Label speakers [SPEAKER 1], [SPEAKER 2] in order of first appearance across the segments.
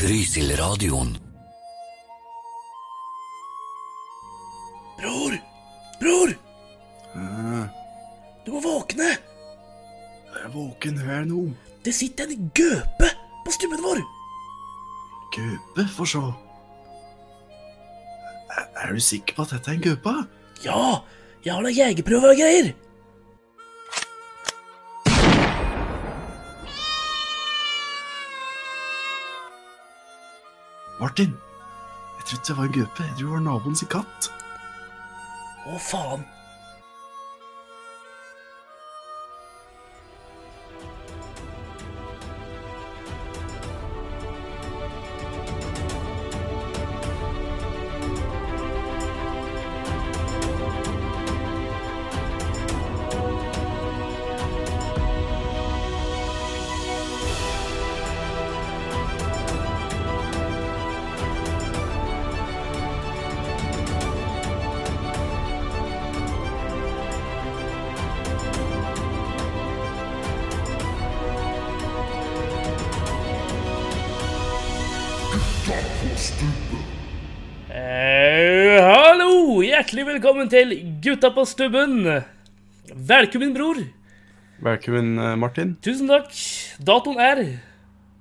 [SPEAKER 1] Rysilradioen.
[SPEAKER 2] Bror! Bror! Du må våkne!
[SPEAKER 3] Ah. Jeg er våken, hør nå.
[SPEAKER 2] Det sitter en gøpe på stubben vår!
[SPEAKER 3] Gaupe, få sjå. Er, er du sikker på at dette er en gaupe?
[SPEAKER 2] Ja, jeg har da jegerprøve og greier!
[SPEAKER 3] Martin, jeg trodde det var en gaupe. Jeg tror det var naboen sin katt.
[SPEAKER 2] Å, faen. Eh, hallo! Hjertelig velkommen til Gutta på stubben. Velkommen, bror.
[SPEAKER 3] Velkommen, eh, Martin.
[SPEAKER 2] Tusen takk. Datoen er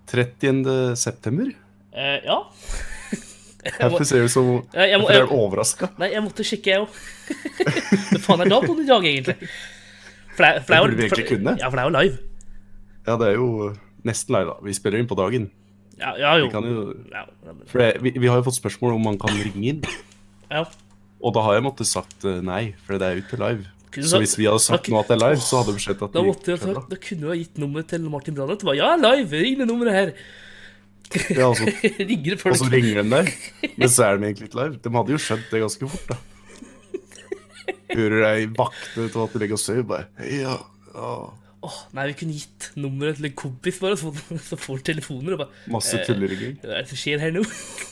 [SPEAKER 3] 30. september.
[SPEAKER 2] eh, Ja. Jeg må-
[SPEAKER 3] Hvorfor ser du så
[SPEAKER 2] eh, jeg må-
[SPEAKER 3] Hvorfor er du
[SPEAKER 2] jeg-
[SPEAKER 3] overraska?
[SPEAKER 2] Nei, jeg måtte sjekke, jeg òg. Hva faen er datoen i dag, egentlig? For det, er- for det, er jo-
[SPEAKER 3] Det burde vi egentlig
[SPEAKER 2] for-
[SPEAKER 3] kunne.
[SPEAKER 2] Ja, for det er jo live.
[SPEAKER 3] Ja, det er jo eh, nesten lei, da. Vi spiller inn på dagen.
[SPEAKER 2] Ja, ja jo.
[SPEAKER 3] Vi, kan jo,
[SPEAKER 2] Ja, men-
[SPEAKER 3] for det, vi, vi har jo fått spørsmål om man kan ringe inn,
[SPEAKER 2] ja.
[SPEAKER 3] og da har jeg måttet sagt eh, nei, for det er jo ikke live.
[SPEAKER 2] Kunne
[SPEAKER 3] Så
[SPEAKER 2] sagt-
[SPEAKER 3] hvis vi hadde sagt
[SPEAKER 2] takk.
[SPEAKER 3] nå at det er live, så hadde vi sett at
[SPEAKER 2] Da,
[SPEAKER 3] vi gikk
[SPEAKER 2] måtte jeg,
[SPEAKER 3] selv,
[SPEAKER 2] sagt- da kunne jeg ha gitt nummeret til Martin Brann. etterpå. Ja, live! Ring det nummeret her.
[SPEAKER 3] da. Ja, altså,
[SPEAKER 2] Ringer det
[SPEAKER 3] Og så
[SPEAKER 2] folk?
[SPEAKER 3] ringer de der, men så er de egentlig ikke live. De hadde jo skjønt det ganske fort, da. Hører ei vakne av at de legger og sover, bare ja, ja.
[SPEAKER 2] Åh, nei, vi kunne gitt nummeret til en kompis, bare, så, så får han telefoner og bare
[SPEAKER 3] Masse tulleringing.
[SPEAKER 2] Hva er det som skjer her nå?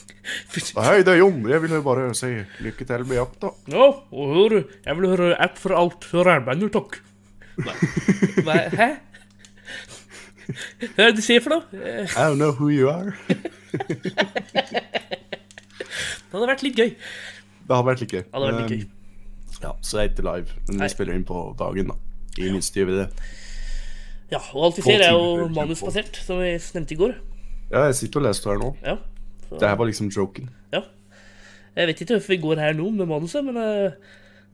[SPEAKER 2] For-
[SPEAKER 3] Hei, det er Jon. Jeg ville bare si lykke til med jakta.
[SPEAKER 2] Ja, og hør, jeg vil høre app for alt. Hør armbandet, takk. Nei. Hva- Hæ? Hva er det du sier for noe? Eh,
[SPEAKER 3] I don't know who you are.
[SPEAKER 2] Det hadde vært litt gøy. Det
[SPEAKER 3] Det hadde vært litt gøy.
[SPEAKER 2] hadde vært litt gøy.
[SPEAKER 3] Um, Ja, så det er ikke live, men
[SPEAKER 2] Nei.
[SPEAKER 3] vi spiller inn på dagen, da. I minst gjør vi det.
[SPEAKER 2] Ja, og alt vi
[SPEAKER 3] få
[SPEAKER 2] ser, er jo
[SPEAKER 3] timer,
[SPEAKER 2] manusbasert, som vi nevnte i går.
[SPEAKER 3] Ja, jeg sitter og leser det her nå.
[SPEAKER 2] Ja. Så-
[SPEAKER 3] Det her var liksom joken.
[SPEAKER 2] Ja. Jeg vet ikke hvorfor vi går her nå med manuset, men eh,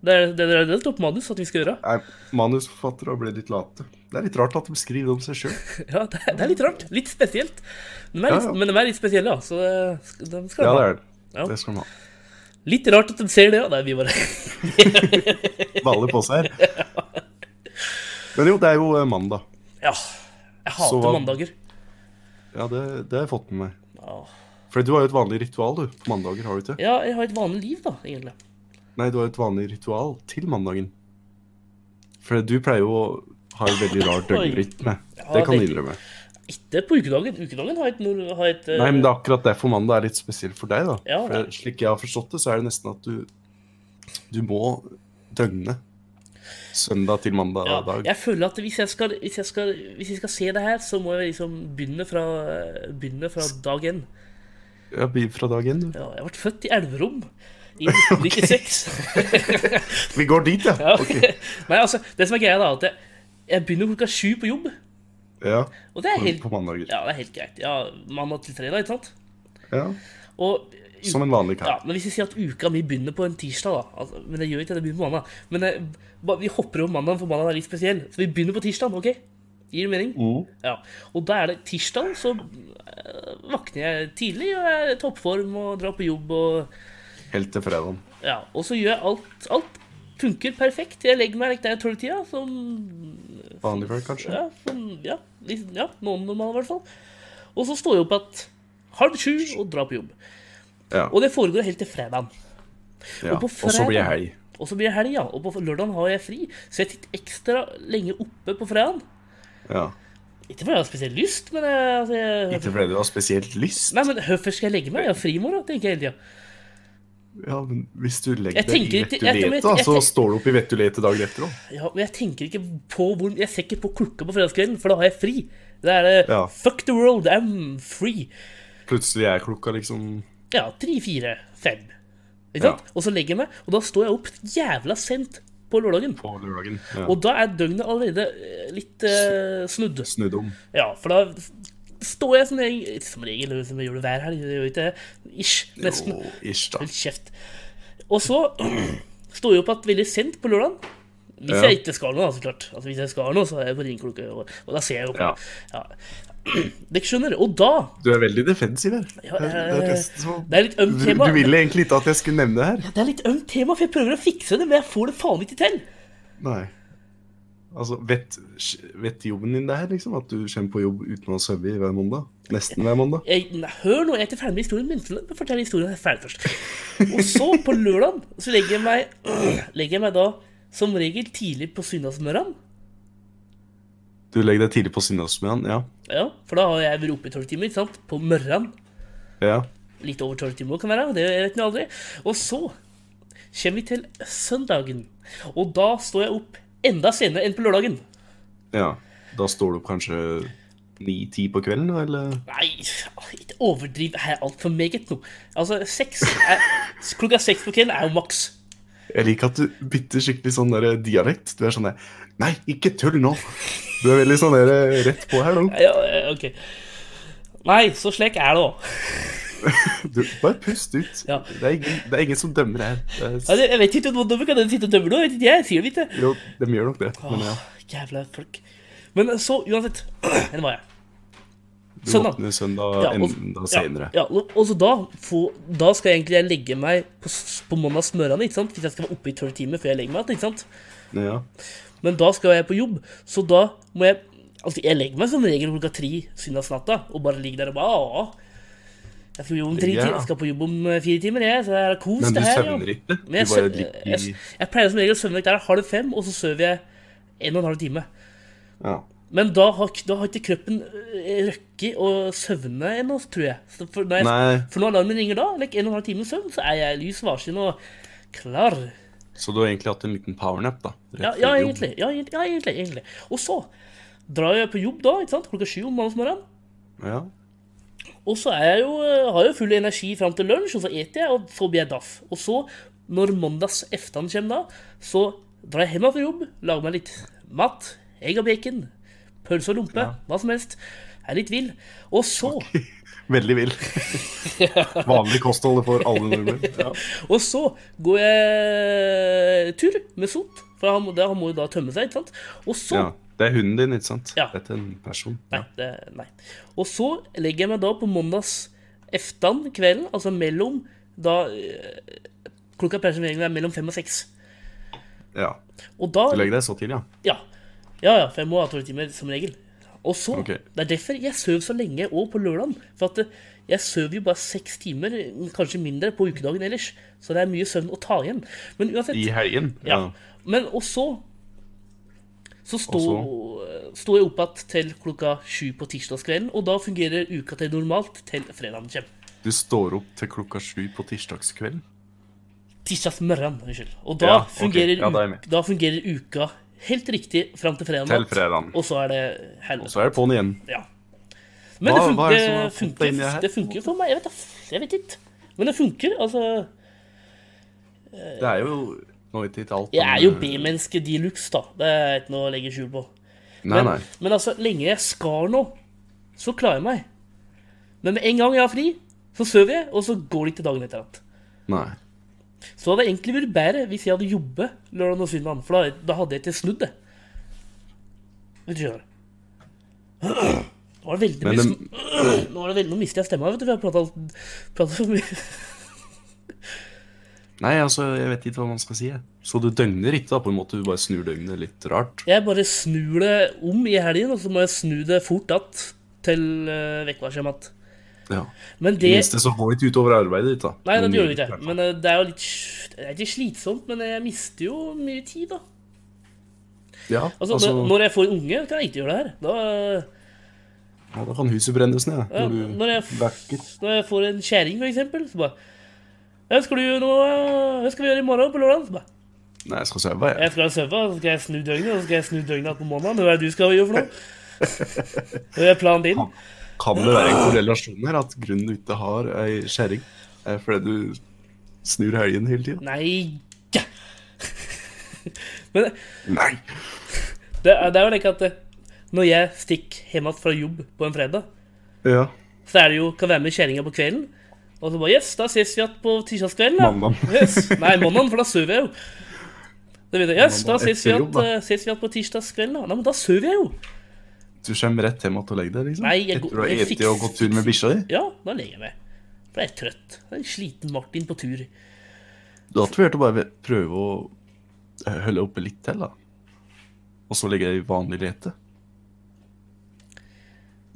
[SPEAKER 2] det er det, er, det står på manus at vi skal gjøre.
[SPEAKER 3] Nei, Manusforfattere ble litt late. Det er litt rart at de skriver om seg sjøl.
[SPEAKER 2] Ja, det er, det er litt rart. Litt spesielt. De er
[SPEAKER 3] Ja,
[SPEAKER 2] litt,
[SPEAKER 3] ja.
[SPEAKER 2] Men de er litt spesielle, ja. Så det skal- de skal
[SPEAKER 3] Ja, det
[SPEAKER 2] ha.
[SPEAKER 3] er det.
[SPEAKER 2] Ja.
[SPEAKER 3] Det skal de ha.
[SPEAKER 2] Litt rart at de ser det, ja. Nei, vi bare
[SPEAKER 3] baller på seg her. Men jo, det er jo eh, mandag.
[SPEAKER 2] Ja. Jeg hater
[SPEAKER 3] Så hva-
[SPEAKER 2] mandager.
[SPEAKER 3] Ja, det, det har jeg fått med meg.
[SPEAKER 2] Ja.
[SPEAKER 3] For du har jo et vanlig ritual, du. På mandager har du ikke?
[SPEAKER 2] ja, jeg har et vanlig liv, da, egentlig.
[SPEAKER 3] Nei, du har et vanlig ritual til mandagen. For du pleier jo å ha en veldig rar døgnrytme.
[SPEAKER 2] Ja,
[SPEAKER 3] Det kan du
[SPEAKER 2] veldig.
[SPEAKER 3] innrømme.
[SPEAKER 2] Ikke på ukedagen. Ukedagen har et, nor- har et eh,
[SPEAKER 3] Nei, men det er akkurat derfor mandag er litt spesiell for deg, da.
[SPEAKER 2] Ja,
[SPEAKER 3] For slik jeg har forstått det, så er det nesten at du Du må døgne. Søndag til mandag
[SPEAKER 2] ja,
[SPEAKER 3] dag.
[SPEAKER 2] Jeg føler at hvis jeg, skal, hvis, jeg skal, hvis jeg skal se det her, så må jeg liksom begynne fra, begynne fra dag én.
[SPEAKER 3] Ja, blir fra dag én, du.
[SPEAKER 2] Ja, jeg ble født i Elverum i 1996.
[SPEAKER 3] Vi går dit, ja.
[SPEAKER 2] ja.
[SPEAKER 3] Ok.
[SPEAKER 2] Nei, altså, det som er greia, da, er at jeg, jeg begynner klokka sju på jobb.
[SPEAKER 3] Ja,
[SPEAKER 2] Og det er
[SPEAKER 3] på,
[SPEAKER 2] helt,
[SPEAKER 3] på mandager.
[SPEAKER 2] ja, det er helt greit. Ja, Mandag til fredag, ikke sant?
[SPEAKER 3] Ja.
[SPEAKER 2] Og
[SPEAKER 3] Som en vanlig kar.
[SPEAKER 2] ja, men Hvis vi sier at uka mi begynner på en tirsdag, da altså, Men det gjør ikke det, det begynner på mandag. Men eh, ba- vi hopper over mandagen, for mandagen er litt spesiell. Så vi begynner på tirsdag, OK? Gir det mening?
[SPEAKER 3] Mm.
[SPEAKER 2] Ja. Og da er det tirsdag, så eh, våkner jeg tidlig og er i toppform og drar på jobb og
[SPEAKER 3] Helt til fredagen.
[SPEAKER 2] Ja, og så gjør jeg alt Alt funker perfekt. Jeg legger meg like der i tolvtida, som
[SPEAKER 3] Vanlig folk, kanskje?
[SPEAKER 2] ja, som ja, liksom, ja, noen normale, i hvert fall. Og så står jeg opp igjen halv sju og drar på jobb.
[SPEAKER 3] Ja.
[SPEAKER 2] Og det foregår helt til fredag.
[SPEAKER 3] ja.
[SPEAKER 2] og på
[SPEAKER 3] Og så blir det
[SPEAKER 2] fredag-
[SPEAKER 3] helg.
[SPEAKER 2] Og så blir det helg, ja. Og på lørdagen har jeg fri, så jeg sitter ekstra lenge oppe på fredagen.
[SPEAKER 3] Ja.
[SPEAKER 2] Ikke fordi jeg har spesielt lyst, men jeg, altså, jeg
[SPEAKER 3] Ikke fordi du har spesielt lyst.
[SPEAKER 2] Nei, men hvorfor skal jeg legge meg? Jeg har fri i morgen, tenker jeg hele tida.
[SPEAKER 3] Ja, men hvis du legger
[SPEAKER 2] Jeg
[SPEAKER 3] deg i
[SPEAKER 2] tenker ikke- jeg- jeg-
[SPEAKER 3] Vettuleta,
[SPEAKER 2] jeg-
[SPEAKER 3] så
[SPEAKER 2] jeg-
[SPEAKER 3] står du opp i Vettuleta dagen etter òg.
[SPEAKER 2] Ja, men jeg tenker ikke på hvor Jeg ser ikke på klokka på fredagskvelden, for da har jeg fri. Da er det
[SPEAKER 3] Ja.
[SPEAKER 2] Fuck the world, I'm free.
[SPEAKER 3] Plutselig er klokka liksom
[SPEAKER 2] Ja, tre, fire, fem. Ikke
[SPEAKER 3] Ja.
[SPEAKER 2] sant? Og så legger jeg meg, og da står jeg opp jævla sent på lørdagen.
[SPEAKER 3] på lørdagen. Ja.
[SPEAKER 2] Og da er døgnet allerede eh, litt eh, snudd.
[SPEAKER 3] Snudd om.
[SPEAKER 2] Ja, for da står jeg som regel, som regel eller som jeg gjør det hver helg, jeg gjør ikke det, ish, nesten.
[SPEAKER 3] Jo, ish, da.
[SPEAKER 2] Hold kjeft. Og så står jeg opp igjen veldig sent på lørdagen. Hvis
[SPEAKER 3] Ja.
[SPEAKER 2] jeg ikke skal noe, da, så klart. Altså, hvis jeg skal noe, så er jeg på ringeklokke, og, og da ser jeg jo på.
[SPEAKER 3] Ja.
[SPEAKER 2] Ja. Dere skjønner. Og da
[SPEAKER 3] Du er veldig defensiv her.
[SPEAKER 2] Ja,
[SPEAKER 3] Det er-
[SPEAKER 2] jeg-
[SPEAKER 3] det er nesten som-
[SPEAKER 2] Det er litt ømt
[SPEAKER 3] Du,
[SPEAKER 2] tema.
[SPEAKER 3] du ville egentlig ikke at jeg skulle nevne det her.
[SPEAKER 2] Det er litt ømt tema, for jeg prøver å fikse det, men jeg får det faen ikke til.
[SPEAKER 3] Nei. Altså, vet, vet jobben din det her, liksom? At du kommer på jobb uten å ha sovet hver mandag? Nesten hver mandag?
[SPEAKER 2] Jeg, nei, hør nå, jeg er ikke ferdig med historien min. La meg fortelle historien her ferdig først. Og så, på lørdag, så legger jeg meg, legger jeg meg da som regel tidlig på søndagsmorgenen.
[SPEAKER 3] Du legger deg tidlig på Sunnaasmøyan? Ja.
[SPEAKER 2] Ja, for da har jeg vært oppe i tolv timer, ikke sant? På morgenen.
[SPEAKER 3] ja.
[SPEAKER 2] Litt over tolv timer kan være, det vet man aldri. Og så kommer vi til søndagen. Og da står jeg opp enda senere enn på lørdagen.
[SPEAKER 3] Ja. Da står du opp kanskje ni-ti på kvelden, da, eller?
[SPEAKER 2] Nei, ikke overdriv her altfor meget nå. Altså, seks er, Klokka seks på kvelden er jo maks.
[SPEAKER 3] Jeg liker at du bytter skikkelig sånn der dialekt. Du er sånn der Nei, ikke tull nå! Du er veldig sånn der rett på her nå.
[SPEAKER 2] Ja, ja, ok. Nei, så slik er det òg.
[SPEAKER 3] Du, bare pust ut.
[SPEAKER 2] Ja.
[SPEAKER 3] Det, er ingen, det er ingen som dømmer her. Det er,
[SPEAKER 2] Altså, Jeg vet ikke om dommer kan den sitte og dømme noe. Jeg vet ikke, jeg sier det ikke.
[SPEAKER 3] jo, de gjør nok det. Men ja.
[SPEAKER 2] Åh, jævla folk. Men eh, så, uansett. Her var jeg.
[SPEAKER 3] Du
[SPEAKER 2] Søndag.
[SPEAKER 3] våkner søndag
[SPEAKER 2] Sånn, Ja, og-
[SPEAKER 3] enda senere.
[SPEAKER 2] Ja, ja, og og så da, få, da skal jeg egentlig jeg legge meg på, s- på mandagsmorgenen, ikke sant? Hvis jeg skal være oppe i tolv timer før jeg legger meg igjen, ikke sant?
[SPEAKER 3] Ja.
[SPEAKER 2] Men da skal jeg på jobb, så da må jeg Altså, jeg legger meg som regel klokka tre søndagsnatta og bare ligger der og bare Åh. Jeg skal på jobb om tre
[SPEAKER 3] Ja.
[SPEAKER 2] timer, jeg skal på jobb om eh, fire timer, jeg, så det er kos,
[SPEAKER 3] Men du
[SPEAKER 2] det her. ja.
[SPEAKER 3] søvner ikke? Du
[SPEAKER 2] Men jeg,
[SPEAKER 3] bare
[SPEAKER 2] søv-
[SPEAKER 3] ligger
[SPEAKER 2] jeg,
[SPEAKER 3] i
[SPEAKER 2] jeg pleier som regel å søvne vekk der halv fem, og så sover jeg en og en halv time.
[SPEAKER 3] ja.
[SPEAKER 2] Men da har, k- da har ikke kroppen øh, røkket å søvne ennå, tror jeg. Så for, når jeg
[SPEAKER 3] Nei,
[SPEAKER 2] for når alarmen ringer da, like en og en halv time søvn, så er jeg lys våken og klar.
[SPEAKER 3] så du har egentlig hatt en liten powernap, da? rett
[SPEAKER 2] Ja, ja,
[SPEAKER 3] før jobb.
[SPEAKER 2] egentlig, ja, egentlig, ja, egentlig, egentlig. Og så drar jeg på jobb da, ikke sant, klokka sju om mandagsmorgenen.
[SPEAKER 3] Ja.
[SPEAKER 2] Og så er jeg jo, øh, har jeg jo full energi fram til lunsj, og så eter jeg, og så blir jeg daff. Og så, når mandags eftan kommer da, så drar jeg hjem fra jobb, lager meg litt mat, egg og bacon, pølse og lompe,
[SPEAKER 3] Ja.
[SPEAKER 2] hva som helst. Jeg er litt vill. Og så,
[SPEAKER 3] Veldig vill. Vanlig kosthold for alle nordmenn. Ja.
[SPEAKER 2] og så går jeg tur med Sot, for han, må- det- han må jo da tømme seg, ikke sant? Og så,
[SPEAKER 3] Ja. Det er hunden din, ikke sant?
[SPEAKER 2] Ja.
[SPEAKER 3] Dette er en person.
[SPEAKER 2] nei, det, nei. Og så legger jeg meg da på mandags eftan kvelden, altså mellom da, øh, klokka pleier som regel å være mellom fem og seks.
[SPEAKER 3] Ja.
[SPEAKER 2] Og da,
[SPEAKER 3] Du legger deg så tidlig, ja?
[SPEAKER 2] ja. ja, ja, for jeg må ha tolv timer som regel. Og så,
[SPEAKER 3] Ok.
[SPEAKER 2] Det er derfor jeg sover så lenge òg på lørdagen. For at eh, jeg sover jo bare seks timer, kanskje mindre, på ukedagen ellers. Så det er mye søvn å ta igjen. Men uansett
[SPEAKER 3] I helgen?
[SPEAKER 2] ja. Men og så Så står står jeg opp igjen til klokka sju på tirsdagskvelden, og da fungerer uka til normalt til fredagen kommer.
[SPEAKER 3] Du står opp til klokka sju på tirsdagskvelden?
[SPEAKER 2] Tirsdagsmorgen, unnskyld. Og da,
[SPEAKER 3] Ja, ok.
[SPEAKER 2] fungerer,
[SPEAKER 3] Ja, da er jeg
[SPEAKER 2] uk-
[SPEAKER 3] med.
[SPEAKER 2] da fungerer uka helt riktig fram til fredag
[SPEAKER 3] Til
[SPEAKER 2] natt,
[SPEAKER 3] fredagen.
[SPEAKER 2] Og så er det helvete.
[SPEAKER 3] Så er det på'n igjen.
[SPEAKER 2] Ja. Men
[SPEAKER 3] Hva- hva
[SPEAKER 2] det, funker,
[SPEAKER 3] er det som har
[SPEAKER 2] det,
[SPEAKER 3] fått deg inn i det
[SPEAKER 2] funker,
[SPEAKER 3] her?
[SPEAKER 2] det funker jo for meg. Jeg vet, da- jeg vet ikke. Men det funker. Altså,
[SPEAKER 3] Det er jo nå ikke til alt.
[SPEAKER 2] jeg er jo
[SPEAKER 3] men-
[SPEAKER 2] B-menneske de luxe, da. Det er ikke noe å legge skjul på.
[SPEAKER 3] Nei,
[SPEAKER 2] Men,
[SPEAKER 3] nei.
[SPEAKER 2] men altså, lenge jeg skal nå, så klarer jeg meg. Men med en gang jeg har fri, så sover jeg, og så går det ikke dagen etter igjen.
[SPEAKER 3] nei.
[SPEAKER 2] Så hadde det egentlig vært bedre hvis jeg hadde jobbet lørdag og søndag, for da, da hadde jeg ikke snudd det. Vet du skjønner. Nå var det veldig
[SPEAKER 3] Men
[SPEAKER 2] mye
[SPEAKER 3] det,
[SPEAKER 2] sm- Nå, er det veldig, nå mister jeg stemma, vet du, for jeg har pratet- pratet for mye.
[SPEAKER 3] nei, altså, jeg vet ikke hva man skal si. jeg. Så du døgner ikke, da, på en måte. Du bare snur døgnet litt rart.
[SPEAKER 2] Jeg bare snur det om i helgen, og så må jeg snu det fort att til uh, vekkvarskjemaet.
[SPEAKER 3] Ja.
[SPEAKER 2] Men
[SPEAKER 3] I
[SPEAKER 2] det
[SPEAKER 3] det minste så går det ikke utover arbeidet ditt, da.
[SPEAKER 2] Nei, det
[SPEAKER 3] Men
[SPEAKER 2] gjør det
[SPEAKER 3] mye-
[SPEAKER 2] ikke. Men eh, det er jo litt sj- Det er ikke slitsomt, men jeg mister jo mye tid, da.
[SPEAKER 3] Ja,
[SPEAKER 2] Altså,
[SPEAKER 3] altså,
[SPEAKER 2] når- Når jeg får unge, kan jeg ikke gjøre det her. Da,
[SPEAKER 3] ja, da kan huset brennes ned,
[SPEAKER 2] ja,
[SPEAKER 3] når du
[SPEAKER 2] når, jeg, f-
[SPEAKER 3] vekker.
[SPEAKER 2] når jeg får en kjerring, for eksempel, så bare ja, 'Skal du gjøre noe eh, Hva skal vi gjøre i morgen på lørdag?' Så bare
[SPEAKER 3] Nei, jeg skal sove, jeg.
[SPEAKER 2] Jeg skal sove, så skal jeg snu døgnet, og så skal jeg snu døgnet igjen på mandag. Hva er det du skal gjøre for noe? Hva er planen din?
[SPEAKER 3] Kan det være en korrelasjon her, at grunnen du ikke har ei kjerring, er fordi du snur helgen hele tida?
[SPEAKER 2] Nei! ja. Men
[SPEAKER 3] Nei!
[SPEAKER 2] det er, det er jo like at eh, når jeg stikker hjemme fra jobb på en fredag,
[SPEAKER 3] Ja.
[SPEAKER 2] så er det jo, kan være med kjerringa på kvelden. Og så bare Yes, da ses vi igjen på tirsdagskvelden. da.
[SPEAKER 3] Mandag.
[SPEAKER 2] Yes. Nei, mandag, for da sover jeg jo. Da begynner jeg, yes, da
[SPEAKER 3] Mandag
[SPEAKER 2] ses
[SPEAKER 3] etter
[SPEAKER 2] vi igjen
[SPEAKER 3] jobb, da.
[SPEAKER 2] eh, ses vi igjen på tirsdagskvelden. da. Nei, men da sover jeg jo.
[SPEAKER 3] Du kommer rett hjem igjen og legger deg, liksom?
[SPEAKER 2] Nei, jeg går-
[SPEAKER 3] Etter du har
[SPEAKER 2] jeg
[SPEAKER 3] spist
[SPEAKER 2] fikser-
[SPEAKER 3] og gått tur med bikkja di?
[SPEAKER 2] Ja, da legger jeg meg. For jeg er trøtt. Jeg er en sliten Martin på tur.
[SPEAKER 3] Du hadde vurdert å bare prøve å eh, holde oppe litt til, da? Og så legge deg i vanlig lete?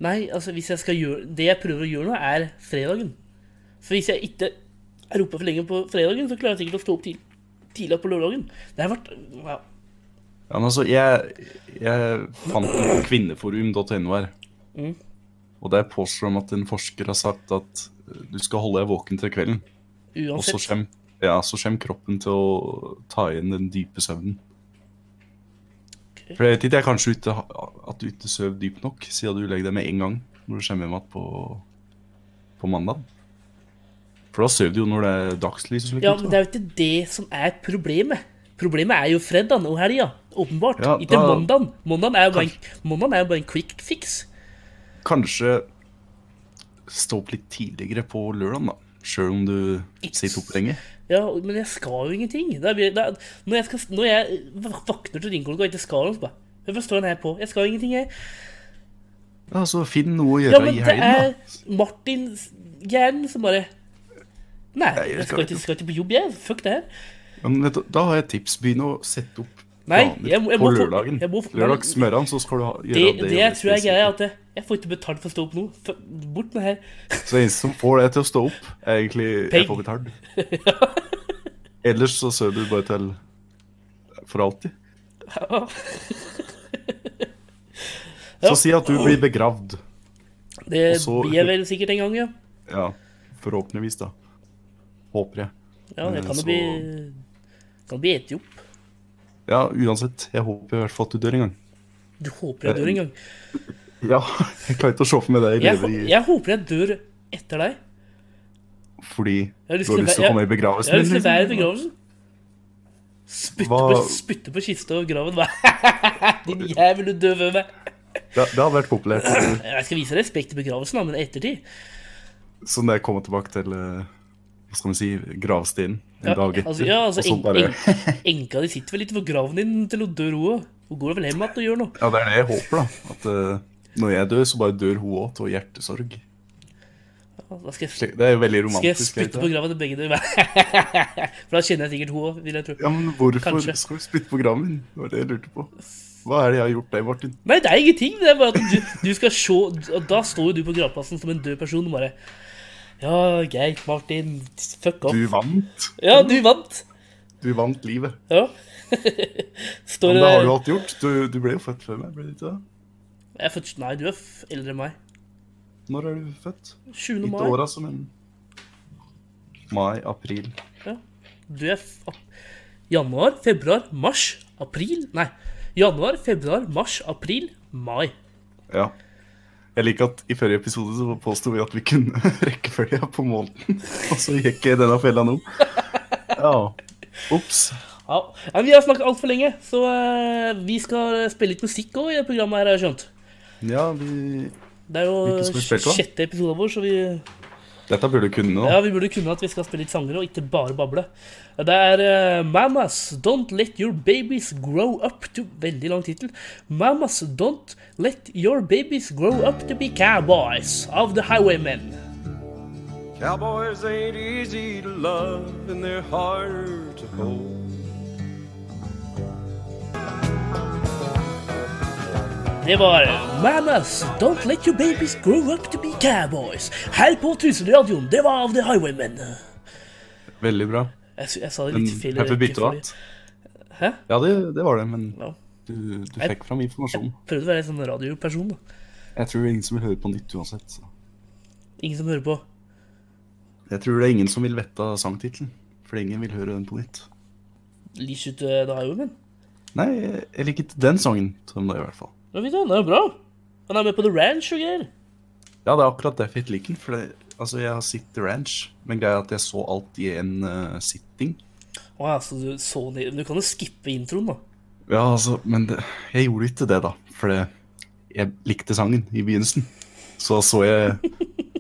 [SPEAKER 2] Nei, altså hvis jeg skal gjøre Det jeg prøver å gjøre nå, er fredagen. For hvis jeg ikke er oppe for lenge på fredagen, så klarer jeg sikkert å stå opp til, tidlig på lørdagen. Det har vært ja.
[SPEAKER 3] Ja, men altså, jeg, jeg fant den på kvinneforum.no her.
[SPEAKER 2] Mhm.
[SPEAKER 3] Og der påstår de at en forsker har sagt at eh, du skal holde deg våken til kvelden. Og så
[SPEAKER 2] Uansett.
[SPEAKER 3] kommer, ja, så kjem kroppen til å ta igjen den dype søvnen.
[SPEAKER 2] Ok.
[SPEAKER 3] For jeg vet ikke, jeg kanskje ikke ha- at du ikke sover dypt nok, siden du legger deg med en gang når du kommer hjem igjen på, på mandag. For da sover du jo når det er dagslys. og slikt,
[SPEAKER 2] Ja, men
[SPEAKER 3] da.
[SPEAKER 2] det er jo ikke det som er problemet. Problemet er jo fredagen og helga. Åpenbart.
[SPEAKER 3] Ja,
[SPEAKER 2] ikke
[SPEAKER 3] da-
[SPEAKER 2] mandagen. Mandagen er jo bare en, mandagen er jo bare en quick fix.
[SPEAKER 3] Kanskje stå opp litt tidligere på lørdagen, da. Sjøl om du sitter oppe lenge.
[SPEAKER 2] Ja, men jeg skal jo ingenting. Da blir, da, når, jeg skal, når jeg vak- vakner til ringeklokka og ikke skal noe, så bare Hvorfor står den her på? Jeg skal ingenting, jeg.
[SPEAKER 3] Ja, Så finn noe å
[SPEAKER 2] Ja,
[SPEAKER 3] gjøre
[SPEAKER 2] men
[SPEAKER 3] i
[SPEAKER 2] det
[SPEAKER 3] helgen,
[SPEAKER 2] er
[SPEAKER 3] da.
[SPEAKER 2] Martins hjernen som bare Nei,
[SPEAKER 3] Nei, jeg
[SPEAKER 2] jeg
[SPEAKER 3] skal
[SPEAKER 2] skal ikke, skal ikke på jobb, jeg. Fuck det her.
[SPEAKER 3] Ja, Men vet du, da har jeg et tips. Begynn å sette opp
[SPEAKER 2] Nei,
[SPEAKER 3] planer
[SPEAKER 2] jeg må- jeg
[SPEAKER 3] på
[SPEAKER 2] må få-
[SPEAKER 3] lørdagen.
[SPEAKER 2] jeg må få-
[SPEAKER 3] Lørdagsmorgenen, så skal du ha, gjøre
[SPEAKER 2] Det,
[SPEAKER 3] det.
[SPEAKER 2] det
[SPEAKER 3] og
[SPEAKER 2] jeg tror jeg
[SPEAKER 3] spesielt.
[SPEAKER 2] greier, er at jeg, jeg får ikke betalt for å stå opp nå. F- Bort med det her.
[SPEAKER 3] Så det eneste som får deg til å stå opp, er egentlig
[SPEAKER 2] Peng.
[SPEAKER 3] jeg får betalt. Ellers så sover du bare til for alltid.
[SPEAKER 2] Ja.
[SPEAKER 3] Så si at du blir begravd.
[SPEAKER 2] Det
[SPEAKER 3] Og så-
[SPEAKER 2] blir jeg vel sikkert en gang, ja.
[SPEAKER 3] Ja, forhåpentligvis, da. Håper jeg.
[SPEAKER 2] Ja, jeg
[SPEAKER 3] Eh,
[SPEAKER 2] kan
[SPEAKER 3] så-
[SPEAKER 2] jo bli Kan bli eti opp.
[SPEAKER 3] Ja, uansett. Jeg håper i hvert fall at du dør en gang.
[SPEAKER 2] Du håper jeg dør en gang.
[SPEAKER 3] Ja, jeg klarer ikke å se for meg deg
[SPEAKER 2] Jeg,
[SPEAKER 3] leve
[SPEAKER 2] hå-
[SPEAKER 3] i
[SPEAKER 2] jeg håper jeg dør etter deg.
[SPEAKER 3] fordi
[SPEAKER 2] Jeg har lyst
[SPEAKER 3] du har
[SPEAKER 2] til å
[SPEAKER 3] lyst til å
[SPEAKER 2] være-
[SPEAKER 3] komme i
[SPEAKER 2] Jeg har
[SPEAKER 3] begravelsen.
[SPEAKER 2] lyst til å
[SPEAKER 3] liksom.
[SPEAKER 2] være i begravelsen. Spytte på,
[SPEAKER 3] Hva-
[SPEAKER 2] spytte på kista og graven. Din jævel, du døver meg.
[SPEAKER 3] Det, det har vært populært.
[SPEAKER 2] Jeg skal vise respekt i begravelsen, da, men i ettertid.
[SPEAKER 3] Så når jeg kommer tilbake til eh, hva skal man si, gravsteinen en
[SPEAKER 2] Ja,
[SPEAKER 3] dag etter
[SPEAKER 2] altså, ja, altså,
[SPEAKER 3] og så
[SPEAKER 2] en,
[SPEAKER 3] bare,
[SPEAKER 2] en, enka de sitter vel litt på graven din til hun dør, hun òg. Hun går vel hjem igjen og gjør noe.
[SPEAKER 3] Ja, det er det jeg håper, da. At eh, når jeg dør, så bare dør hun òg av hjertesorg.
[SPEAKER 2] Ja, Da skal jeg,
[SPEAKER 3] Det er jo veldig
[SPEAKER 2] skal jeg
[SPEAKER 3] romantisk. er det
[SPEAKER 2] spytte på
[SPEAKER 3] ikke det?
[SPEAKER 2] graven til begge dere. For da kjenner jeg sikkert hun òg, vil jeg tro.
[SPEAKER 3] Ja, men hvorfor
[SPEAKER 2] Kanskje.
[SPEAKER 3] skal du spytte på graven min? Det var det jeg lurte på. Hva er det jeg har gjort deg, Martin?
[SPEAKER 2] Nei, det er ingenting. Det er bare at du, du skal se og Da står jo du på gravplassen som en død person og bare Ja, greit, Martin. Fuck off.
[SPEAKER 3] Du vant.
[SPEAKER 2] Ja, du vant.
[SPEAKER 3] Du vant livet.
[SPEAKER 2] Ja.
[SPEAKER 3] Men
[SPEAKER 2] Står det
[SPEAKER 3] det har
[SPEAKER 2] der
[SPEAKER 3] du alt gjort. Du, du ble jo født før meg, ble du ikke det?
[SPEAKER 2] Jeg er født- Nei, du er f- eldre enn meg.
[SPEAKER 3] Når er du født?
[SPEAKER 2] 7.
[SPEAKER 3] Ikke
[SPEAKER 2] mai.
[SPEAKER 3] åra, altså, men Mai, april.
[SPEAKER 2] Du er f- ap- januar, februar, mars, april Nei. Januar, februar, mars, april, mai.
[SPEAKER 3] Ja. Jeg liker at i forrige episode så påsto vi at vi kunne rekkefølga på måneden, og så gikk jeg i denne fella nå. Ja. Ops.
[SPEAKER 2] Ja, men Vi har snakket altfor lenge, så eh, vi skal spille litt musikk òg i det programmet. her, har jeg skjønt.
[SPEAKER 3] Ja, vi
[SPEAKER 2] Det er jo
[SPEAKER 3] Hvilken skal vi spille da?
[SPEAKER 2] sjette episoden vår, så vi,
[SPEAKER 3] Dette burde du kunne nå.
[SPEAKER 2] ja, vi burde kunne at vi skal spille litt sanger og ikke bare bable. Det er eh, Mamas Don't Let Your Babies Grow Up to Veldig lang tittel. Mamas Don't Let Your Babies Grow Up to Be Cowboys of The Highwaymen.
[SPEAKER 1] Cowboys ain't easy to love and they're harder to hold.
[SPEAKER 2] Det var Mamas Don't Let Your Babies Grow Up To Be Cowboys her på Tusenradioen. Det var av The Highwaymen.
[SPEAKER 3] Veldig bra.
[SPEAKER 2] Jeg, sy- jeg sa det
[SPEAKER 3] Men
[SPEAKER 2] litt feil. i
[SPEAKER 3] Pepper bytta
[SPEAKER 2] rekkefølge.
[SPEAKER 3] alt.
[SPEAKER 2] Hæ?
[SPEAKER 3] Ja, det, det var det, men
[SPEAKER 2] Ja.
[SPEAKER 3] du, du fikk fram informasjon.
[SPEAKER 2] Prøvde å være en sånn radioperson. da.
[SPEAKER 3] Jeg tror det er ingen som vil høre på nytt uansett. Så.
[SPEAKER 2] Ingen som hører på.
[SPEAKER 3] Jeg tror det er ingen som vil vette av sangtittelen, for ingen vil høre den på nytt.
[SPEAKER 2] Lish ut eh, The Highwaymen.
[SPEAKER 3] Nei, jeg jeg liker ikke den sangen som det, i hvert fall.
[SPEAKER 2] Men vet du, den er jo bra. Han er med på The Ranch og greier.
[SPEAKER 3] Ja, det er akkurat derfor jeg ikke liker den. For det, altså, jeg har sett The Ranch, men greia er at jeg så alt i en eh, sitting.
[SPEAKER 2] Å, ja, så du, så ned. du kan jo skippe introen, da.
[SPEAKER 3] Ja, altså, men det, jeg gjorde ikke det, da. For det, jeg likte sangen i begynnelsen. Så så jeg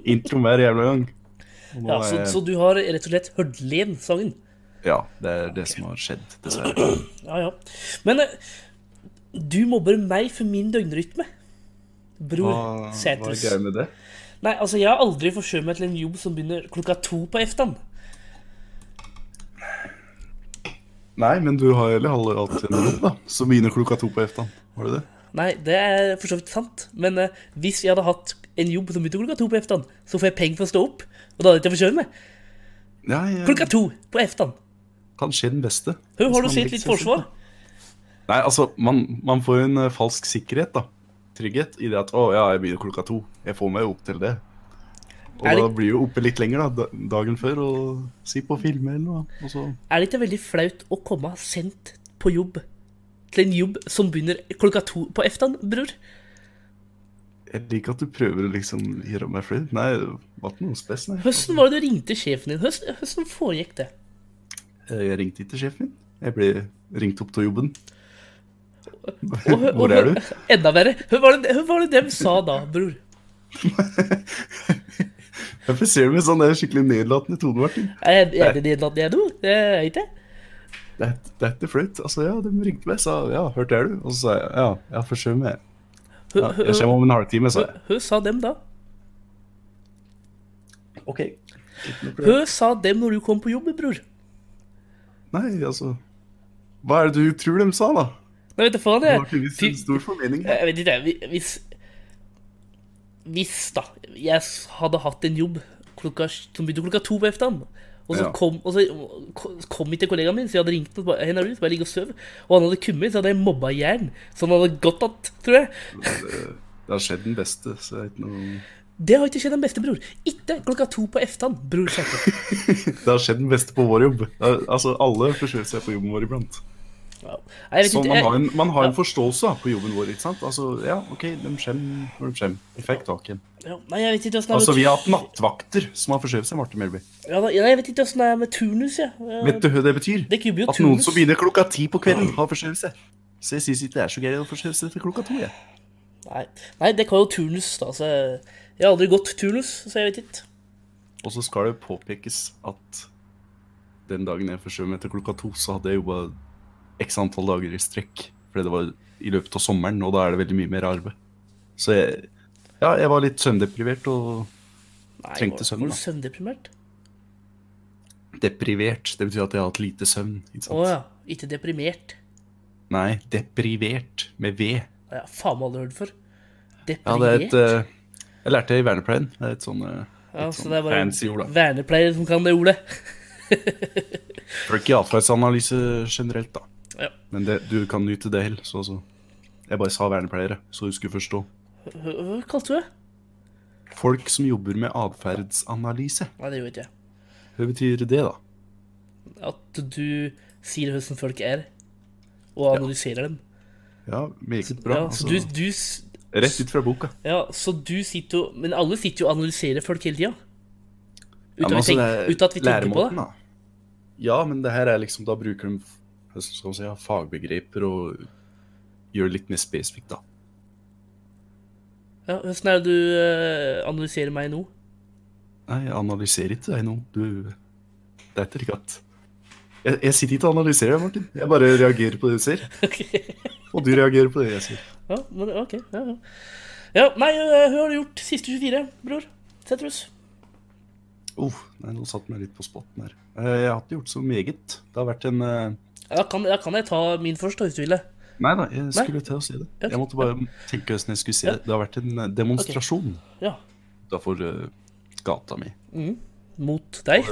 [SPEAKER 3] introen hver jævla gang. Og nå
[SPEAKER 2] Ja, så,
[SPEAKER 3] er jeg-
[SPEAKER 2] så du har rett og slett hørt len sangen?
[SPEAKER 3] ja, det er det som har skjedd, dessverre.
[SPEAKER 2] Ja, ja. Men eh, du mobber meg for min døgnrytme, bror Sæters.
[SPEAKER 3] med det?
[SPEAKER 2] Nei, altså, jeg har aldri forskjøvet meg til en jobb som begynner klokka to på eftan.
[SPEAKER 3] Nei, men du har heller halv- alltid en jobb, da. Som begynner klokka to på eftan. Har du det?
[SPEAKER 2] Nei, det er for så vidt sant, men eh, hvis jeg hadde hatt en jobb som begynte klokka to på eftan, så får jeg penger for å stå opp, og da hadde jeg ikke forskjøvet meg.
[SPEAKER 3] Ja, jeg
[SPEAKER 2] Klokka to på eftan.
[SPEAKER 3] Kanskje den beste.
[SPEAKER 2] Hør,
[SPEAKER 3] Hvis
[SPEAKER 2] har
[SPEAKER 3] man
[SPEAKER 2] du sett
[SPEAKER 3] liker
[SPEAKER 2] litt
[SPEAKER 3] seg selv,
[SPEAKER 2] forsvar?
[SPEAKER 3] da. Nei, altså, man, man får jo en eh, falsk sikkerhet, da. Trygghet i det at 'Å ja, jeg begynner klokka to'. Jeg får meg jo opp til det. Og
[SPEAKER 2] Er det-
[SPEAKER 3] da blir jo oppe litt lenger, da. da- Dagen før, og si på filmer eller noe. Og så
[SPEAKER 2] Er det ikke veldig flaut å komme sendt på jobb til en jobb som begynner klokka to på eftan, bror?
[SPEAKER 3] Jeg liker at du prøver å liksom gjøre meg flau. Nei, det var ikke noe spes, nei.
[SPEAKER 2] Høsten var det du ringte sjefen din? Høsten, høsten foregikk det?
[SPEAKER 3] Eh, Jeg ringte ikke sjefen min. Jeg ble ringt opp til jobben.
[SPEAKER 2] Og hø- og
[SPEAKER 3] Hvor er
[SPEAKER 2] hø-
[SPEAKER 3] du?
[SPEAKER 2] Enda verre. Hør hva det, hør hva det dem sa da, bror.
[SPEAKER 3] Hvorfor ser du meg sånn? Det er skikkelig nedlatende tone, Martin.
[SPEAKER 2] Er, er det din at jeg er noe? Det er jeg ikke.
[SPEAKER 3] Det er, det er ikke flaut. Altså, ja, de ringte meg, sa ja, hørte jeg du? Og så sa jeg ja, jeg forsøv meg.
[SPEAKER 2] Hø,
[SPEAKER 3] Ja,
[SPEAKER 2] hø,
[SPEAKER 3] jeg kommer om en halvtime, sa
[SPEAKER 2] hø,
[SPEAKER 3] jeg.
[SPEAKER 2] hø sa dem da?
[SPEAKER 3] OK.
[SPEAKER 2] Hø sa dem når du kom på jobb, bror?
[SPEAKER 3] Nei, altså Hva er det du tror de sa, da?
[SPEAKER 2] Nei, vet du faen,
[SPEAKER 3] Det
[SPEAKER 2] jeg.
[SPEAKER 3] var tydeligvis
[SPEAKER 2] Fy- Eh,
[SPEAKER 3] en stor formening.
[SPEAKER 2] Jeg vet ikke, jeg. Hvis Hvis, da, jeg hadde hatt en jobb klokka, som begynte klokka to på eftan, og så
[SPEAKER 3] Ja.
[SPEAKER 2] kom, og så kom jeg til kollegaen min, så jeg hadde ringt og bare, «Hen er du, så bare ligge og søv, og han hadde kommet, så hadde jeg mobba i jern, så han hadde gått att, tror jeg.
[SPEAKER 3] Det har skjedd den beste, så det er ikke noe
[SPEAKER 2] Det har ikke skjedd den beste, bror. Ikke klokka to på eftan, bror Kjerke.
[SPEAKER 3] Det har skjedd den beste på vår jobb. Det er- Altså, alle forsøver seg på jobben vår iblant.
[SPEAKER 2] Ja. Nei, jeg vet
[SPEAKER 3] Så
[SPEAKER 2] ikke,
[SPEAKER 3] man har
[SPEAKER 2] jeg,
[SPEAKER 3] en, man har en forståelse da, på jobben vår, ikke sant? Altså, ja, OK, de kommer når de kommer. Vi fikk tak i den.
[SPEAKER 2] ja, nei, jeg vet ikke hvordan det er med
[SPEAKER 3] Altså, vi har hatt nattvakter som har forsøvet seg, Marte Melby.
[SPEAKER 2] tu- ja, da- nei, jeg vet ikke hvordan det er med turnus, jeg. Eh,
[SPEAKER 3] Vet du hva det betyr?
[SPEAKER 2] Det kubber jo
[SPEAKER 3] At noen
[SPEAKER 2] turnus.
[SPEAKER 3] som begynner klokka ti på kvelden, har forsøvet seg. Så jeg syns ikke det er så gøy å forsøve seg til klokka to, jeg.
[SPEAKER 2] Nei, nei, det kan jo turnus, da, så jeg, jeg har aldri gått turnus, så jeg vet ikke.
[SPEAKER 3] Og så skal det påpekes at den dagen jeg forsøv meg til klokka to, så hadde jeg jobba x antall dager i strekk. Fordi det var i løpet av sommeren, og da er det veldig mye mer arbeid. Så jeg, ja, jeg var litt søvndeprivert og
[SPEAKER 2] Nei,
[SPEAKER 3] Trengte
[SPEAKER 2] var-
[SPEAKER 3] søvn,
[SPEAKER 2] var du
[SPEAKER 3] da.
[SPEAKER 2] søvndeprimert?
[SPEAKER 3] deprivert. Det betyr at jeg har hatt lite søvn. ikke sant?
[SPEAKER 2] Å ja. Ikke deprimert.
[SPEAKER 3] Nei, deprivert med V.
[SPEAKER 2] Det har jeg faen meg aldri hørt før.
[SPEAKER 3] Ja,
[SPEAKER 2] Deprimert?
[SPEAKER 3] det er et eh, Jeg lærte det i vernepleien. Det er et sånn eh,
[SPEAKER 2] Ja,
[SPEAKER 3] et
[SPEAKER 2] så
[SPEAKER 3] sånn
[SPEAKER 2] det er bare
[SPEAKER 3] fancy ord, da.
[SPEAKER 2] vernepleiere som kan det ordet.
[SPEAKER 3] Folk i atferdsanalyse generelt, da.
[SPEAKER 2] Ja.
[SPEAKER 3] Men det, du kan nyte det heller, så, så Jeg bare sa vernepleiere, så du skulle forstå.
[SPEAKER 2] Hva hva kalte du det?
[SPEAKER 3] Folk som jobber med atferdsanalyse.
[SPEAKER 2] Nei, det gjorde ikke jeg.
[SPEAKER 3] Hva betyr det, da?
[SPEAKER 2] At du sier hvordan folk er, og analyserer dem.
[SPEAKER 3] Ja, meget
[SPEAKER 2] Ja,
[SPEAKER 3] bra.
[SPEAKER 2] så
[SPEAKER 3] altså,
[SPEAKER 2] du, du s-
[SPEAKER 3] Rett ut fra boka.
[SPEAKER 2] Ja, så du sitter jo Men alle sitter jo og analyserer folk hele tida.
[SPEAKER 3] men
[SPEAKER 2] Uten, at vi
[SPEAKER 3] altså, det
[SPEAKER 2] tenker-
[SPEAKER 3] er
[SPEAKER 2] uten at vi tenker på
[SPEAKER 3] læremåten,
[SPEAKER 2] det.
[SPEAKER 3] Da. Ja, men det her er liksom Da bruker de hva skal man si, ja, fagbegreper og gjør det litt mer spesifikt, da.
[SPEAKER 2] Ja, Hvordan er det du eh, analyserer meg nå?
[SPEAKER 3] Nei, jeg analyserer ikke deg nå. Du Det er ikke riktig. Jeg, jeg sitter ikke og analyserer, deg, Martin. Jeg bare reagerer på det du ser.
[SPEAKER 2] Ok.
[SPEAKER 3] Og du reagerer på det jeg sier.
[SPEAKER 2] Ja, men ok. Ja, ja. ja nei, eh, hva har du gjort siste 24, bror? Setrus.
[SPEAKER 3] Oh, nei, nå satte meg litt på spotten her. Eh, Jeg har ikke gjort så meget. Det har vært en eh,
[SPEAKER 2] Ja, kan, ja, kan jeg ta min først, da, hvis du vil det?
[SPEAKER 3] Nei da, jeg skulle til å si det.
[SPEAKER 2] Ok.
[SPEAKER 3] Jeg måtte bare tenke hvordan jeg skulle si det. Det har vært en eh, demonstrasjon
[SPEAKER 2] Ja.
[SPEAKER 3] utenfor eh, gata mi.
[SPEAKER 2] Mot deg?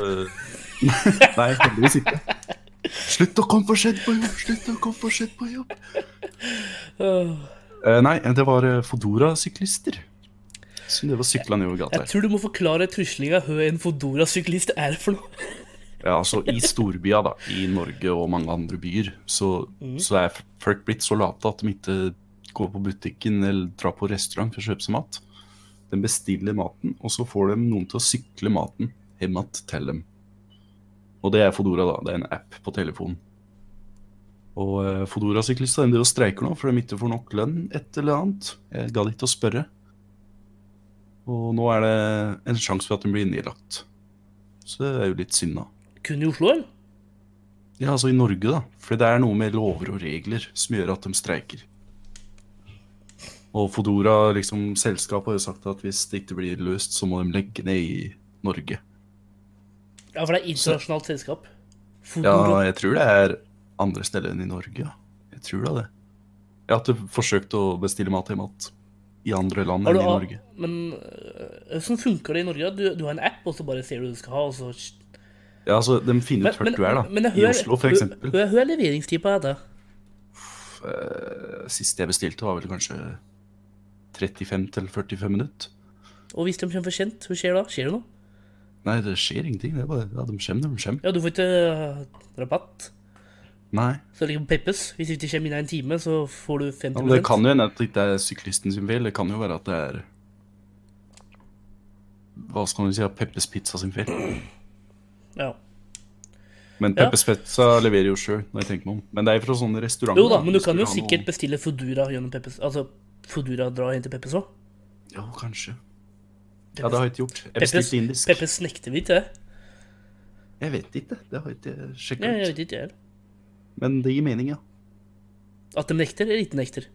[SPEAKER 3] Nei, heldigvis ikke. Slutt å komme for sent på jobb! Slutt å komme for sent på jobb!
[SPEAKER 2] Øh,
[SPEAKER 3] Eh, nei, det var eh, Fodora-syklister. Som det var sykla nedover gata
[SPEAKER 2] jeg
[SPEAKER 3] her.
[SPEAKER 2] tror du må forklare truslinga hø en Fodora-syklist er for noe.
[SPEAKER 3] Ja, altså I storbyer da, i Norge og mange andre byer, så, så er f- folk blitt så late at de ikke går på butikken eller drar på restaurant for å kjøpe seg mat. De bestiller maten, og så får de noen til å sykle maten hjem att til dem. Og det er Fodora, da. Det er en app på telefonen. Og eh, Fodora-syklister de driver og streiker nå, for de ikke får nok lønn, et eller annet. Jeg gadd ikke å spørre. Og nå er det en sjanse for at de blir nedlagt. Så det er jo litt synd, da.
[SPEAKER 2] Kun i Oslo, eller?
[SPEAKER 3] Ja, altså i Norge, da. Fordi det er noe med lover og regler som gjør at de streiker. Og Fodora, liksom selskapet, har jo sagt at hvis det ikke blir løst, så må de legge ned i Norge.
[SPEAKER 2] Ja, for det er internasjonalt selskap.
[SPEAKER 3] Ja,
[SPEAKER 2] Fodora.
[SPEAKER 3] jeg tror det er andre steder enn i Norge, ja. Jeg tror da det. Jeg har ikke forsøkt å bestille mat hjemme att i andre land
[SPEAKER 2] Har
[SPEAKER 3] enn
[SPEAKER 2] du
[SPEAKER 3] i
[SPEAKER 2] a-
[SPEAKER 3] Norge.
[SPEAKER 2] Men øh, hvordan funker det i Norge? da? Du, du har en app, og så bare ser du hva du skal ha, og så
[SPEAKER 3] Ja, altså, De finner ut hvor du er, da.
[SPEAKER 2] men jeg
[SPEAKER 3] I
[SPEAKER 2] hører-
[SPEAKER 3] Oslo, for
[SPEAKER 2] hø-
[SPEAKER 3] eksempel.
[SPEAKER 2] hø- hører leveringstid på dette.
[SPEAKER 3] Sist jeg bestilte, var vel kanskje 35 til 45 minutter.
[SPEAKER 2] Og hvis de kommer for sent, hva skjer da? Skjer det noe?
[SPEAKER 3] Nei, det skjer ingenting. Det er bare, ja, De kommer, de kommer.
[SPEAKER 2] Ja, du får ikke øh, rabatt.
[SPEAKER 3] Nei.
[SPEAKER 2] Så det ligger på Peppes. Hvis du ikke kommer innen en time, så får du 50
[SPEAKER 3] Ja, men det kan jo hende at det ikke er syklisten sin feil. Det kan jo være at det er Hva skal man si? at Peppes Pizza sin feil.
[SPEAKER 2] Ja.
[SPEAKER 3] Men
[SPEAKER 2] Ja.
[SPEAKER 3] Peppes Pizza leverer jo sjøl, når jeg tenker meg om. Men det er fra sånne restauranter.
[SPEAKER 2] Jo da,
[SPEAKER 3] da.
[SPEAKER 2] men du
[SPEAKER 3] Hvis
[SPEAKER 2] kan jo
[SPEAKER 3] vil ha noe-
[SPEAKER 2] sikkert bestille Foodora gjennom Peppes. Altså Foodora dra og hente Peppes òg.
[SPEAKER 3] Ja, kanskje. Ja, det har jeg ikke gjort. Jeg
[SPEAKER 2] Peppes,
[SPEAKER 3] bestilte indisk.
[SPEAKER 2] Peppes nekter vi til det.
[SPEAKER 3] Jeg vet ikke. Det har jeg ikke
[SPEAKER 2] Nei, jeg
[SPEAKER 3] sjekka ut.
[SPEAKER 2] vet ikke, jeg heller.
[SPEAKER 3] Men det gir mening, ja.
[SPEAKER 2] At de nekter eller ikke nekter.